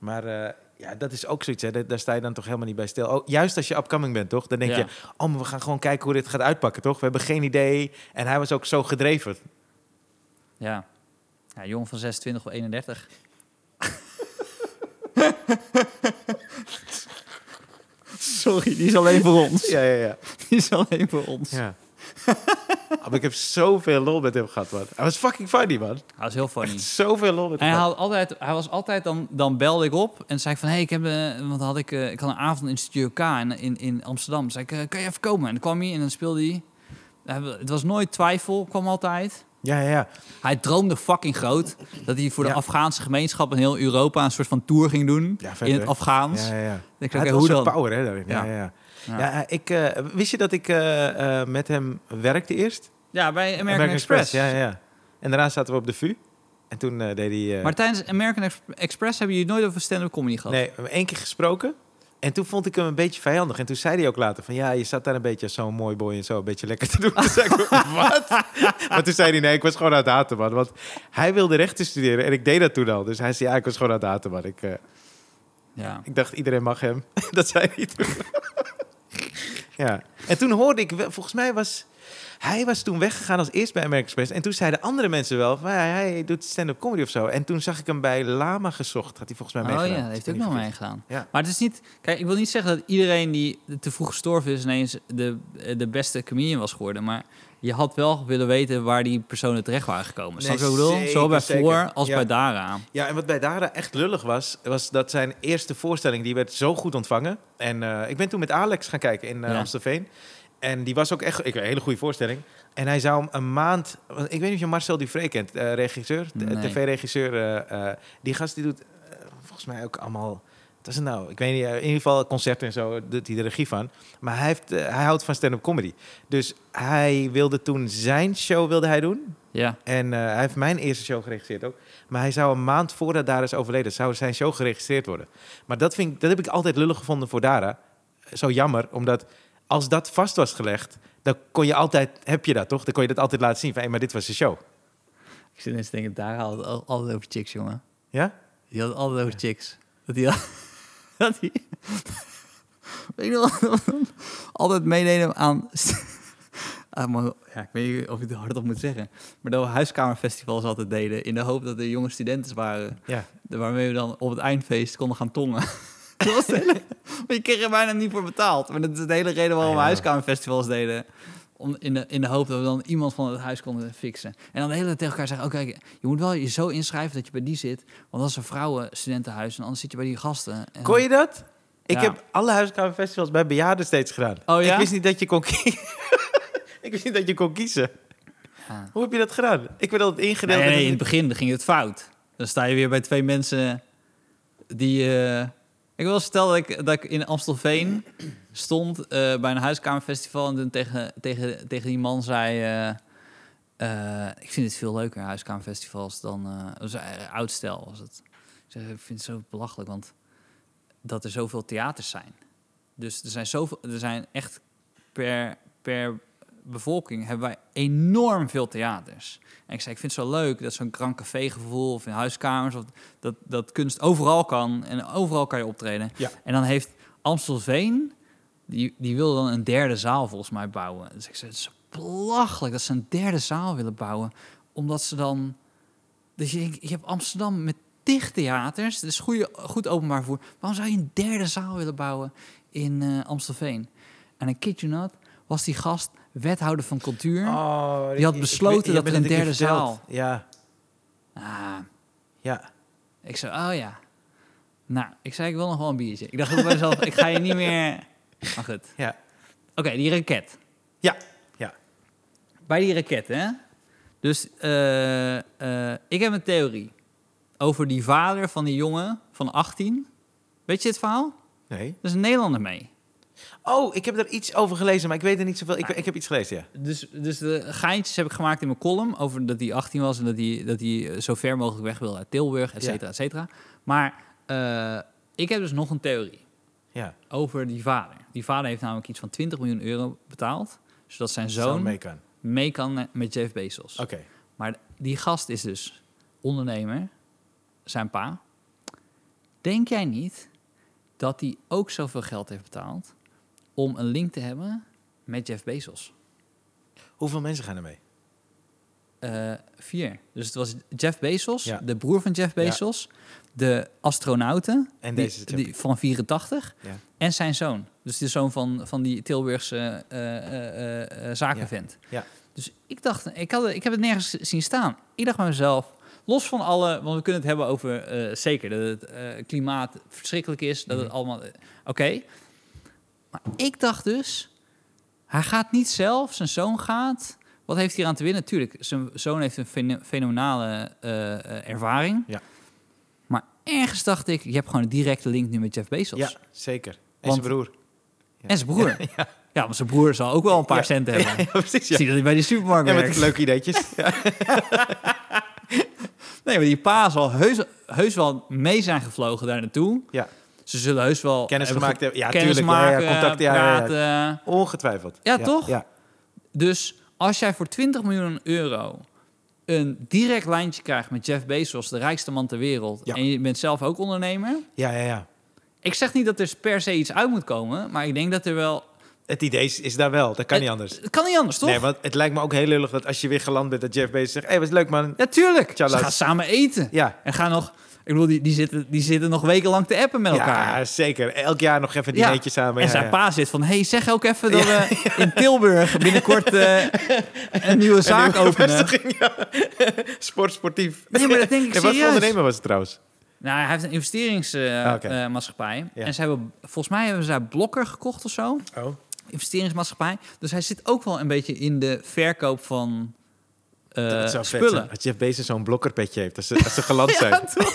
[SPEAKER 1] Maar eh, ja, dat is ook zoiets. Hè. Daar, daar sta je dan toch helemaal niet bij stil. Oh, juist als je upcoming bent, toch? Dan denk
[SPEAKER 2] Ja.
[SPEAKER 1] je, oh, maar we gaan gewoon kijken hoe dit gaat uitpakken, toch? We hebben geen idee. En hij was ook zo gedreven.
[SPEAKER 2] Ja. Ja, jong van 26 of 31. Sorry, die is alleen voor ons.
[SPEAKER 1] Ja, ja, ja.
[SPEAKER 2] Die is alleen voor ons.
[SPEAKER 1] ja. Oh, maar ik heb zoveel lol met hem gehad, man. Hij was fucking funny, man.
[SPEAKER 2] Hij was heel funny.
[SPEAKER 1] Zoveel lol met
[SPEAKER 2] Hij,
[SPEAKER 1] hem gehad.
[SPEAKER 2] had altijd, hij was altijd, dan, dan belde ik op en zei ik van... Hé, hey, ik, heb, eh, want dan had ik, eh, ik had een avond in Studio K in, in, in Amsterdam. Toen zei ik, eh, kan je even komen? En dan kwam hij en dan speelde hij. Hij- Het was nooit twijfel, kwam altijd.
[SPEAKER 1] Ja, ja, ja.
[SPEAKER 2] Hij droomde fucking groot dat hij voor de
[SPEAKER 1] Ja.
[SPEAKER 2] Afghaanse gemeenschap in heel Europa een soort van tour ging doen.
[SPEAKER 1] Ja, vet,
[SPEAKER 2] in het
[SPEAKER 1] hè?
[SPEAKER 2] Afghaans.
[SPEAKER 1] Ja, ja, ja.
[SPEAKER 2] Ik
[SPEAKER 1] Hij
[SPEAKER 2] denk, oké,
[SPEAKER 1] had
[SPEAKER 2] hoe
[SPEAKER 1] wel
[SPEAKER 2] dan?
[SPEAKER 1] zo'n power, hè, daarin. Ja,
[SPEAKER 2] Ja.
[SPEAKER 1] ja, ja.
[SPEAKER 2] Ja.
[SPEAKER 1] Ja, eh, ik, eh, wist je dat ik eh, eh, met hem werkte eerst?
[SPEAKER 2] Ja, bij American, Express.
[SPEAKER 1] Ja, ja, ja. En daarna zaten we op de VU. En toen eh, deed hij... eh,
[SPEAKER 2] Maar tijdens American Ex- Express hebben jullie nooit over stand-up comedy gehad.
[SPEAKER 1] nee, we hebben één keer gesproken. En toen vond ik hem een beetje vijandig. En toen zei hij ook later van... Ja, je zat daar een beetje als zo'n mooi boy en zo. Een beetje lekker te doen. Toen zei ik, wat? Maar toen zei hij... Nee, ik was gewoon aan het haten, man. Want hij wilde rechten studeren. En ik deed dat toen al. Dus hij zei... Ja, ik was gewoon aan het haten, man. Ik, eh,
[SPEAKER 2] Ja.
[SPEAKER 1] Ik dacht, iedereen mag hem. dat zei hij toen. ja. En toen hoorde ik, wel- volgens mij was... Hij was toen weggegaan als eerst bij American Express. En toen zeiden andere mensen wel, van, ja, hij doet stand-up comedy of zo. En toen zag ik hem bij Lama gezocht. Had hij volgens mij
[SPEAKER 2] Oh ja,
[SPEAKER 1] meegedaan.
[SPEAKER 2] dat heeft
[SPEAKER 1] Ik
[SPEAKER 2] ook
[SPEAKER 1] weet
[SPEAKER 2] nog
[SPEAKER 1] niet of
[SPEAKER 2] meegedaan.
[SPEAKER 1] Ja.
[SPEAKER 2] Maar het is niet... Kijk, ik wil niet zeggen dat iedereen die te vroeg gestorven is... ineens de, de beste comedian was geworden. Maar je had wel willen weten waar die personen terecht waren
[SPEAKER 1] Nee,
[SPEAKER 2] gekomen. Snap je wat ik bedoel? Zowel bij
[SPEAKER 1] zeker,
[SPEAKER 2] Voor
[SPEAKER 1] zeker.
[SPEAKER 2] als
[SPEAKER 1] Ja.
[SPEAKER 2] bij Dara.
[SPEAKER 1] het- Ja, en wat bij Dara echt lullig was, was dat zijn eerste voorstelling, die werd zo goed ontvangen. En eh, ik ben toen met Alex gaan kijken in eh
[SPEAKER 2] Ja.
[SPEAKER 1] Amstelveen. En die was ook echt ik, een hele goede voorstelling. En hij zou hem een maand... want Ik weet niet of je Marcel Duvré kent, eh, regisseur, t-
[SPEAKER 2] Nee.
[SPEAKER 1] tv-regisseur. eh, eh, die gast die doet eh, volgens mij ook allemaal... Wat is het nou? Ik weet niet, eh, in ieder geval concerten en zo doet hij de regie van. Maar hij, heeft, eh, hij houdt van stand-up comedy. Dus hij wilde toen zijn show wilde hij doen.
[SPEAKER 2] Ja.
[SPEAKER 1] En eh, hij heeft mijn eerste show geregisseerd ook. Maar hij zou een maand voordat Dara is overleden, zou zijn show geregistreerd worden. Maar dat, vind ik, dat heb ik altijd lullig gevonden voor Dara. Zo jammer, omdat als dat vast was gelegd, dan kon je altijd, heb je dat toch? Dan kon je dat altijd laten zien van, hé, maar dit was de show.
[SPEAKER 2] Ik zit ineens te denken, Dara had het al- altijd over chicks, jongen.
[SPEAKER 1] Ja?
[SPEAKER 2] Die had het altijd over chicks. Dat die al- dat die... Weet je nog wat? Altijd meededen aan... aan mijn- ja, ik weet niet of ik het hardop moet zeggen. Maar dat we huiskamerfestivals altijd deden. In de hoop dat er jonge studenten waren.
[SPEAKER 1] Ja.
[SPEAKER 2] Waarmee we dan op het eindfeest konden gaan tongen. Dat was het hele- maar je kreeg er bijna niet voor betaald. Maar dat is de hele reden waarom we
[SPEAKER 1] Ah, Ja.
[SPEAKER 2] huiskamerfestivals deden. Om, in, de, in de hoop dat we dan iemand van het huis konden fixen. En dan de hele tijd tegen elkaar zeggen... oké, je moet wel je zo inschrijven dat je bij die zit. Want dat is een vrouwenstudentenhuis. En anders zit je bij die gasten. En
[SPEAKER 1] Kon je dat? Ik
[SPEAKER 2] Ja.
[SPEAKER 1] heb alle huiskamerfestivals bij bejaarden steeds gedaan.
[SPEAKER 2] Oh ja?
[SPEAKER 1] Ik wist niet dat je kon kiezen. ik wist niet dat je kon kiezen.
[SPEAKER 2] Ja.
[SPEAKER 1] Hoe heb je dat gedaan? Ik werd altijd ingedeeld.
[SPEAKER 2] Nee,
[SPEAKER 1] en
[SPEAKER 2] nee,
[SPEAKER 1] dat-
[SPEAKER 2] in het begin ging het fout. Dan sta je weer bij twee mensen die... eh, Ik wil vertellen dat ik, dat ik in Amstelveen stond eh, bij een huiskamerfestival... en toen tegen, tegen, tegen die man zei... eh, eh, ik vind het veel leuker, huiskamerfestivals, dan... eh dat was, eh, oud stijl was het. Ik, zeg, ik vind het zo belachelijk, want dat er zoveel theaters zijn. Dus er zijn, zoveel, er zijn echt per, per bevolking hebben wij enorm veel theaters. En ik zei, ik vind het zo leuk dat zo'n grand café gevoel of in huiskamers, of dat, dat kunst overal kan en overal kan je optreden.
[SPEAKER 1] Ja.
[SPEAKER 2] En dan heeft Amstelveen, die, die wil dan een derde zaal volgens mij bouwen. Dus ik zei, het is belachelijk dat ze een derde zaal willen bouwen, omdat ze dan... Dus je, denkt, je hebt Amsterdam met tig theaters, dus goede, goed openbaar vervoer. Waarom zou je een derde zaal willen bouwen in eh, Amstelveen? En ik kid you not, was die gast wethouder van cultuur.
[SPEAKER 1] Oh,
[SPEAKER 2] Die had
[SPEAKER 1] ik- ik
[SPEAKER 2] besloten
[SPEAKER 1] weet- je
[SPEAKER 2] dat
[SPEAKER 1] hebt het
[SPEAKER 2] er een
[SPEAKER 1] keer
[SPEAKER 2] derde
[SPEAKER 1] verteld.
[SPEAKER 2] zaal-
[SPEAKER 1] Ja,
[SPEAKER 2] Ah,
[SPEAKER 1] ja.
[SPEAKER 2] ik zei, oh ja. Nou, ik zei, ik wil nog wel een biertje. Ik dacht ook bij mezelf, ik ga je niet meer... Maar goed. Oké,
[SPEAKER 1] Ja.
[SPEAKER 2] die raket.
[SPEAKER 1] Ja. Ja.
[SPEAKER 2] Bij die raket, hè. Dus eh, eh, ik heb een theorie over die vader van die jongen van 18. Weet je het verhaal?
[SPEAKER 1] Nee.
[SPEAKER 2] Er is een Nederlander mee.
[SPEAKER 1] Oh, ik heb daar iets over gelezen, maar ik weet er niet zoveel. Ik,
[SPEAKER 2] Ah.
[SPEAKER 1] ik heb iets gelezen, ja.
[SPEAKER 2] Dus, dus de geintjes heb ik gemaakt in mijn column over dat hij 18 was en dat hij, dat hij eh, zo ver mogelijk weg wilde uit Tilburg, et
[SPEAKER 1] Ja.
[SPEAKER 2] cetera, et cetera. Maar eh, ik heb dus nog een theorie
[SPEAKER 1] ja.
[SPEAKER 2] over die vader. Die vader heeft namelijk iets van 20 miljoen euro betaald, zodat zijn zoon
[SPEAKER 1] Zou mee kan.
[SPEAKER 2] mee kan met Jeff Bezos.
[SPEAKER 1] Oké.
[SPEAKER 2] Maar die gast is dus ondernemer, zijn pa. Denk jij niet dat hij ook zoveel geld heeft betaald om een link te hebben met Jeff Bezos?
[SPEAKER 1] Hoeveel mensen gaan er mee?
[SPEAKER 2] Eh, vier. Dus het was Jeff Bezos,
[SPEAKER 1] Ja.
[SPEAKER 2] de broer van Jeff
[SPEAKER 1] Ja.
[SPEAKER 2] Bezos, de astronauten
[SPEAKER 1] En
[SPEAKER 2] die-
[SPEAKER 1] deze
[SPEAKER 2] die, van 84
[SPEAKER 1] Ja.
[SPEAKER 2] en zijn zoon. Dus de zoon van, van die Tilburgse eh, eh, eh, eh, zakenvent.
[SPEAKER 1] Ja. Ja.
[SPEAKER 2] Dus ik dacht, ik, had, ik heb het nergens zien staan. Ik dacht bij mezelf, los van alle, want we kunnen het hebben over eh, zeker dat het eh, klimaat verschrikkelijk is, dat
[SPEAKER 1] Mhm.
[SPEAKER 2] het allemaal, eh, oké. Maar ik dacht dus, hij gaat niet zelf, zijn zoon gaat. Wat heeft hij eraan te winnen? Tuurlijk, zijn zoon heeft een fene- fenomenale eh, eh, ervaring.
[SPEAKER 1] Ja.
[SPEAKER 2] Maar ergens dacht ik, je hebt gewoon een directe link nu met Jeff Bezos.
[SPEAKER 1] Ja, zeker. En
[SPEAKER 2] Want-
[SPEAKER 1] zijn broer.
[SPEAKER 2] En zijn broer. Ja, maar zijn broer zal ook wel een paar
[SPEAKER 1] Ja.
[SPEAKER 2] centen hebben.
[SPEAKER 1] Ja, precies. Ja.
[SPEAKER 2] Zie dat hij bij die supermarkt
[SPEAKER 1] Ja, met
[SPEAKER 2] werkt.
[SPEAKER 1] leuke ideetjes. Ja.
[SPEAKER 2] Nee, maar die pa zal heus, heus wel mee zijn gevlogen daar naartoe.
[SPEAKER 1] Ja.
[SPEAKER 2] Ze zullen heus wel...
[SPEAKER 1] Kennis
[SPEAKER 2] hebben
[SPEAKER 1] gemaakt hebben. Ja,
[SPEAKER 2] kennis
[SPEAKER 1] tuurlijk. Ja, ja,
[SPEAKER 2] maken,
[SPEAKER 1] contact, ja, ja, ja.
[SPEAKER 2] praten.
[SPEAKER 1] Ongetwijfeld.
[SPEAKER 2] Ja, toch?
[SPEAKER 1] Ja.
[SPEAKER 2] Dus als jij voor 20 miljoen euro een direct lijntje krijgt met Jeff Bezos, de rijkste man ter wereld,
[SPEAKER 1] Ja.
[SPEAKER 2] en je bent zelf ook ondernemer,
[SPEAKER 1] Ja, ja, ja.
[SPEAKER 2] Ik zeg niet dat er per se iets uit moet komen, maar ik denk dat er wel...
[SPEAKER 1] Het idee is, is daar wel, dat kan niet anders.
[SPEAKER 2] Het kan niet anders, toch?
[SPEAKER 1] Nee, want het lijkt me ook heel lullig dat als je weer geland bent, dat Jeff Bezos zegt, hé, hey, was leuk man.
[SPEAKER 2] Ja, tuurlijk.
[SPEAKER 1] Ciao,
[SPEAKER 2] Ze gaan
[SPEAKER 1] laat.
[SPEAKER 2] samen eten.
[SPEAKER 1] Ja,
[SPEAKER 2] En gaan nog... Ik bedoel, die, die, zitten, die zitten nog wekenlang te appen met elkaar.
[SPEAKER 1] ja zeker. Elk jaar nog even een
[SPEAKER 2] Ja.
[SPEAKER 1] dinertje samen.
[SPEAKER 2] en
[SPEAKER 1] ja,
[SPEAKER 2] zijn
[SPEAKER 1] ja.
[SPEAKER 2] pa zit van... hey, zeg ook even dat we in Tilburg binnenkort eh, een nieuwe zaak
[SPEAKER 1] Een nieuwe
[SPEAKER 2] openen.
[SPEAKER 1] vestiging, ja. Sport, sportief.
[SPEAKER 2] Nee, maar dat denk ik
[SPEAKER 1] En wat voor
[SPEAKER 2] serieus.
[SPEAKER 1] ondernemer was het trouwens?
[SPEAKER 2] Nou, hij heeft
[SPEAKER 1] Ah,
[SPEAKER 2] een
[SPEAKER 1] oké.
[SPEAKER 2] investeringsmaatschappij. Eh,
[SPEAKER 1] Ja.
[SPEAKER 2] En ze hebben, volgens mij hebben ze daar Blokker gekocht of zo.
[SPEAKER 1] Oh.
[SPEAKER 2] Investeringsmaatschappij. Dus hij zit ook wel een beetje in de verkoop van eh,
[SPEAKER 1] dat zou vet
[SPEAKER 2] spullen.
[SPEAKER 1] zijn. Als Jeff Bezos zo'n blokkerpetje heeft, als ze, als ze geland zijn.
[SPEAKER 2] Ja, toch?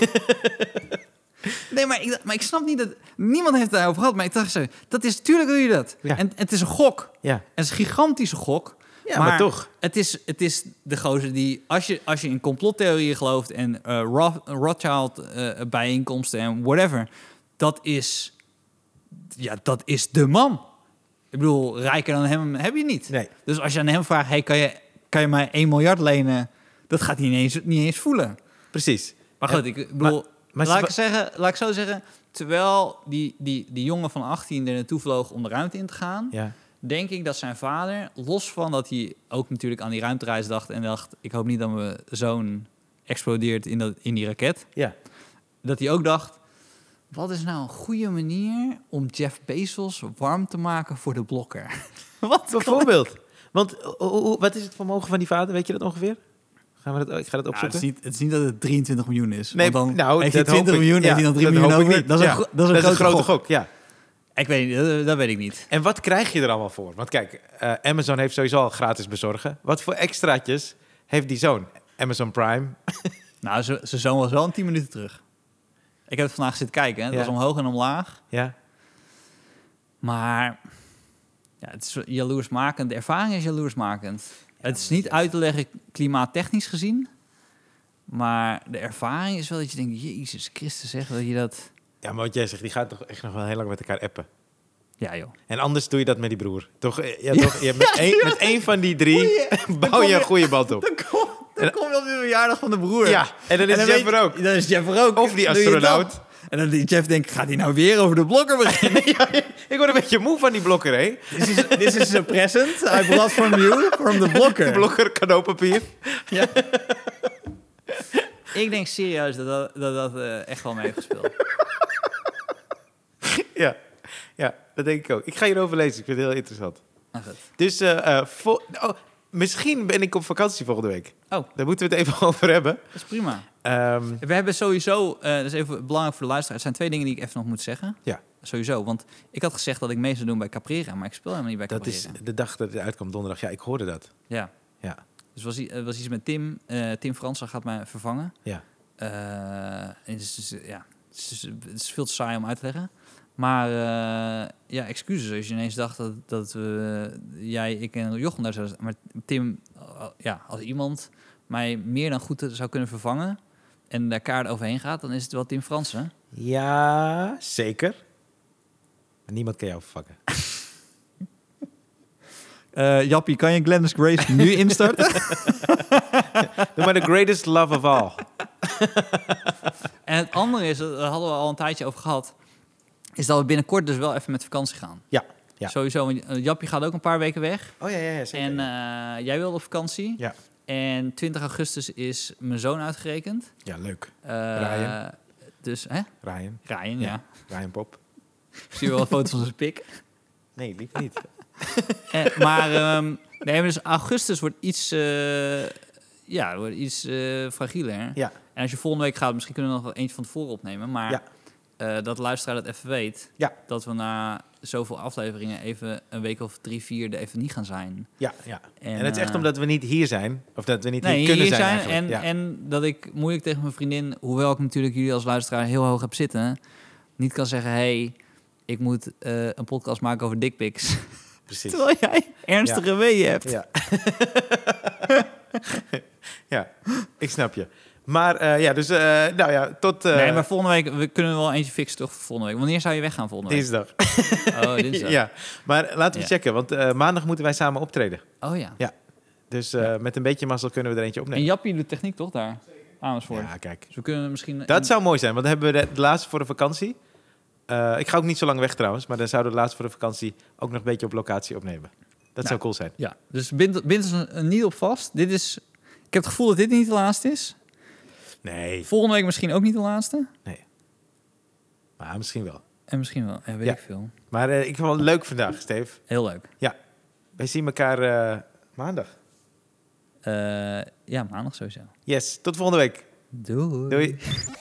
[SPEAKER 2] nee, maar ik, maar ik snap niet dat... Niemand heeft het daarover gehad, maar ik dacht zo... Dat is, tuurlijk doe je dat.
[SPEAKER 1] Ja.
[SPEAKER 2] En, en het is een gok.
[SPEAKER 1] Ja.
[SPEAKER 2] Het is een gigantische gok.
[SPEAKER 1] Ja, maar toch.
[SPEAKER 2] Het is, het is de gozer die, als je, als je in complottheorieën gelooft en eh, Roth- Rothschild eh, bijeenkomsten en whatever, dat is, ja, dat is de man. Ik bedoel, rijker dan hem heb je niet.
[SPEAKER 1] Nee.
[SPEAKER 2] Dus als je aan hem vraagt, hey, kan, je, kan je mij 1 miljard lenen? Dat gaat hij niet eens, niet eens voelen.
[SPEAKER 1] Precies.
[SPEAKER 2] Maar goed, ik bedoel,
[SPEAKER 1] maar ze-
[SPEAKER 2] laat, ik zeggen, laat ik zo zeggen, terwijl die, die, die jongen van 18 er naartoe vloog om de ruimte in te gaan,
[SPEAKER 1] Ja.
[SPEAKER 2] denk ik dat zijn vader, los van dat hij ook natuurlijk aan die ruimtereis dacht en dacht, ik hoop niet dat mijn zoon explodeert in, dat, in die raket,
[SPEAKER 1] Ja.
[SPEAKER 2] dat hij ook dacht, wat is nou een goede manier om Jeff Bezos warm te maken voor de blokker? wat?
[SPEAKER 1] Bijvoorbeeld. Want o- o- o- wat is het vermogen van die vader? Weet je dat ongeveer? Gaan we dat, oh, ik ga dat
[SPEAKER 2] Ja, Nou, het,
[SPEAKER 1] opzoeken.
[SPEAKER 2] is niet, het is niet dat het 23 miljoen is.
[SPEAKER 1] Nee,
[SPEAKER 2] want dan
[SPEAKER 1] nou,
[SPEAKER 2] heeft hij
[SPEAKER 1] dat hoop
[SPEAKER 2] 20
[SPEAKER 1] ik.
[SPEAKER 2] miljoen,
[SPEAKER 1] Ja,
[SPEAKER 2] heeft hij dan 3
[SPEAKER 1] dat
[SPEAKER 2] miljoen
[SPEAKER 1] hoop ik
[SPEAKER 2] over.
[SPEAKER 1] niet.
[SPEAKER 2] Dat is,
[SPEAKER 1] Ja.
[SPEAKER 2] een, gro- dat is een grote, gok.
[SPEAKER 1] ja.
[SPEAKER 2] Ik weet niet, dat, dat weet ik niet.
[SPEAKER 1] En wat krijg je er allemaal voor? Want kijk, eh, Amazon heeft sowieso al gratis bezorgen. Wat voor extraatjes heeft die zoon? Amazon Prime.
[SPEAKER 2] Nou, ze- zijn zoon was wel een 10 minuten terug. Ik heb het vandaag zitten kijken. Hè. Het
[SPEAKER 1] Ja.
[SPEAKER 2] was omhoog en omlaag.
[SPEAKER 1] Ja.
[SPEAKER 2] Maar ja, het is jaloersmakend. De ervaring is jaloersmakend. het is niet uit te leggen klimaattechnisch gezien. Maar de ervaring is wel dat je denkt... Jezus Christus, zeg dat je dat...
[SPEAKER 1] ja, maar wat jij zegt, die gaat toch echt nog wel heel lang met elkaar appen.
[SPEAKER 2] Ja joh.
[SPEAKER 1] En anders doe je dat met die broer. Toch? eh, Ja, toch? Je hebt met, één, met één van die drie bouw
[SPEAKER 2] kom
[SPEAKER 1] je een
[SPEAKER 2] je-
[SPEAKER 1] goede band op.
[SPEAKER 2] Dan kom, dan kom je op de verjaardag van de broer.
[SPEAKER 1] Ja, en dan is
[SPEAKER 2] dan
[SPEAKER 1] Jeff
[SPEAKER 2] weet-
[SPEAKER 1] er ook.
[SPEAKER 2] Dan is Jeff er ook.
[SPEAKER 1] Of die
[SPEAKER 2] Doe je dat?
[SPEAKER 1] astronaut.
[SPEAKER 2] En dan die Jeff denkt, gaat hij nou weer over de blokker beginnen?
[SPEAKER 1] Ik word een beetje moe van die blokker, hè?
[SPEAKER 2] This is, this is a present I brought from you, from the blokker.
[SPEAKER 1] Die blokker, cadeaupapier.
[SPEAKER 2] Ja. ik denk serieus dat dat, dat, dat, eh, echt wel mee heeft gespeeld.
[SPEAKER 1] Ja. ja, dat denk ik ook. Ik ga hierover lezen, ik vind het heel interessant.
[SPEAKER 2] Maar goed.
[SPEAKER 1] Dus eh, eh, vol- oh, misschien ben ik op vakantie volgende week.
[SPEAKER 2] Oh,
[SPEAKER 1] Daar moeten we het even over hebben.
[SPEAKER 2] dat is prima.
[SPEAKER 1] Ehm,
[SPEAKER 2] We hebben sowieso, eh, dat is even belangrijk voor de luisteraar. Er zijn twee dingen die ik even nog moet zeggen.
[SPEAKER 1] Ja.
[SPEAKER 2] Sowieso, want ik had gezegd dat ik mee zou doen bij Caprera, maar ik speel helemaal niet bij
[SPEAKER 1] dat
[SPEAKER 2] Caprera.
[SPEAKER 1] is de dag dat het uitkomt, donderdag. Ja, ik hoorde dat.
[SPEAKER 2] Ja.
[SPEAKER 1] Ja.
[SPEAKER 2] Dus was, i- eh, was iets met Tim. eh, Tim Fransen gaat mij vervangen.
[SPEAKER 1] Ja.
[SPEAKER 2] Eh, en het is, dus, eh, ja, het is, dus- het is veel te saai om uit te leggen. Maar eh, ja, excuses als je ineens dacht dat, dat we, jij, ik en Jochem daar zouden Maar Tim, eh, ja, als iemand mij meer dan goed zou kunnen vervangen en daar kaart overheen gaat, dan is het wel Tim Fransen.
[SPEAKER 1] Ja, zeker. Maar niemand kan jou vervangen.
[SPEAKER 2] Eh, Jappie, kan je Glennis Grace nu instarten?
[SPEAKER 1] Doe maar the greatest love of all.
[SPEAKER 2] en het andere is, eh, daar hadden we al een tijdje over gehad, is dat we binnenkort dus wel even met vakantie gaan.
[SPEAKER 1] Ja, ja.
[SPEAKER 2] Sowieso, want eh, Jappie gaat ook een paar weken weg.
[SPEAKER 1] Oh ja, ja, ja zeker.
[SPEAKER 2] En eh, jij wilde op vakantie.
[SPEAKER 1] Ja.
[SPEAKER 2] En 20 augustus is mijn zoon uitgerekend.
[SPEAKER 1] ja, leuk.
[SPEAKER 2] Eh,
[SPEAKER 1] Ryan.
[SPEAKER 2] Dus, hè?
[SPEAKER 1] Ryan.
[SPEAKER 2] Ryan, ja.
[SPEAKER 1] Ja. Ryan Pop.
[SPEAKER 2] Ik zie wel een foto van zijn pik.
[SPEAKER 1] Nee, lief niet.
[SPEAKER 2] Eh, maar, ehm, nee, maar dus augustus wordt iets, eh, ja, wordt iets eh, fragieler.
[SPEAKER 1] Ja.
[SPEAKER 2] En als je volgende week gaat, misschien kunnen we nog wel eentje van tevoren opnemen. Maar
[SPEAKER 1] Ja.
[SPEAKER 2] eh, dat de luisteraar dat even weet.
[SPEAKER 1] Ja.
[SPEAKER 2] Dat we na zoveel afleveringen even een week of drie, vier er even niet gaan zijn.
[SPEAKER 1] Ja, ja. En, het is echt
[SPEAKER 2] eh,
[SPEAKER 1] omdat we niet hier zijn. Of dat we niet
[SPEAKER 2] Nee,
[SPEAKER 1] hier kunnen
[SPEAKER 2] hier
[SPEAKER 1] zijn,
[SPEAKER 2] zijn, en,
[SPEAKER 1] eigenlijk. Ja.
[SPEAKER 2] en dat ik moeilijk tegen mijn vriendin, hoewel ik natuurlijk jullie als luisteraar heel hoog heb zitten, niet kan zeggen: hey, ik moet eh, een podcast maken over dickpics.
[SPEAKER 1] Precies.
[SPEAKER 2] Terwijl jij ernstige weeën hebt.
[SPEAKER 1] Ja. ja, ik snap je. Maar eh, ja, dus eh, nou ja, tot eh,
[SPEAKER 2] nee, maar volgende week we kunnen wel eentje fixen, toch? voor Volgende week. Wanneer zou je weggaan volgende week?
[SPEAKER 1] dinsdag.
[SPEAKER 2] Oh, dinsdag.
[SPEAKER 1] ja, maar laten we
[SPEAKER 2] Ja.
[SPEAKER 1] checken, want eh, maandag moeten wij samen optreden.
[SPEAKER 2] Oh ja.
[SPEAKER 1] Dus eh, met een beetje mazzel kunnen we er eentje
[SPEAKER 2] En
[SPEAKER 1] opnemen.
[SPEAKER 2] Jappie doet techniek toch daar? Amersfoort.
[SPEAKER 1] Ja, kijk.
[SPEAKER 2] Dus we kunnen misschien...
[SPEAKER 1] Dat zou mooi zijn, want dan hebben we de, de laatste voor de vakantie. Eh, ik ga ook niet zo lang weg trouwens, maar dan zouden we laatst voor de vakantie ook nog een beetje op locatie opnemen. Dat zou cool zijn.
[SPEAKER 2] Ja, dus bind, bind ons er niet op vast. Dit is, ik heb het gevoel dat dit niet de laatste is.
[SPEAKER 1] Nee,
[SPEAKER 2] Volgende week misschien ook niet de laatste.
[SPEAKER 1] maar misschien wel.
[SPEAKER 2] En misschien wel, ja, weet
[SPEAKER 1] Ja.
[SPEAKER 2] ik veel.
[SPEAKER 1] Maar eh, ik vond het leuk vandaag, Steve.
[SPEAKER 2] Heel leuk.
[SPEAKER 1] Wij zien elkaar eh, maandag.
[SPEAKER 2] Eh, ja, maandag sowieso.
[SPEAKER 1] Yes, tot volgende week.
[SPEAKER 2] Doei.
[SPEAKER 1] Doei.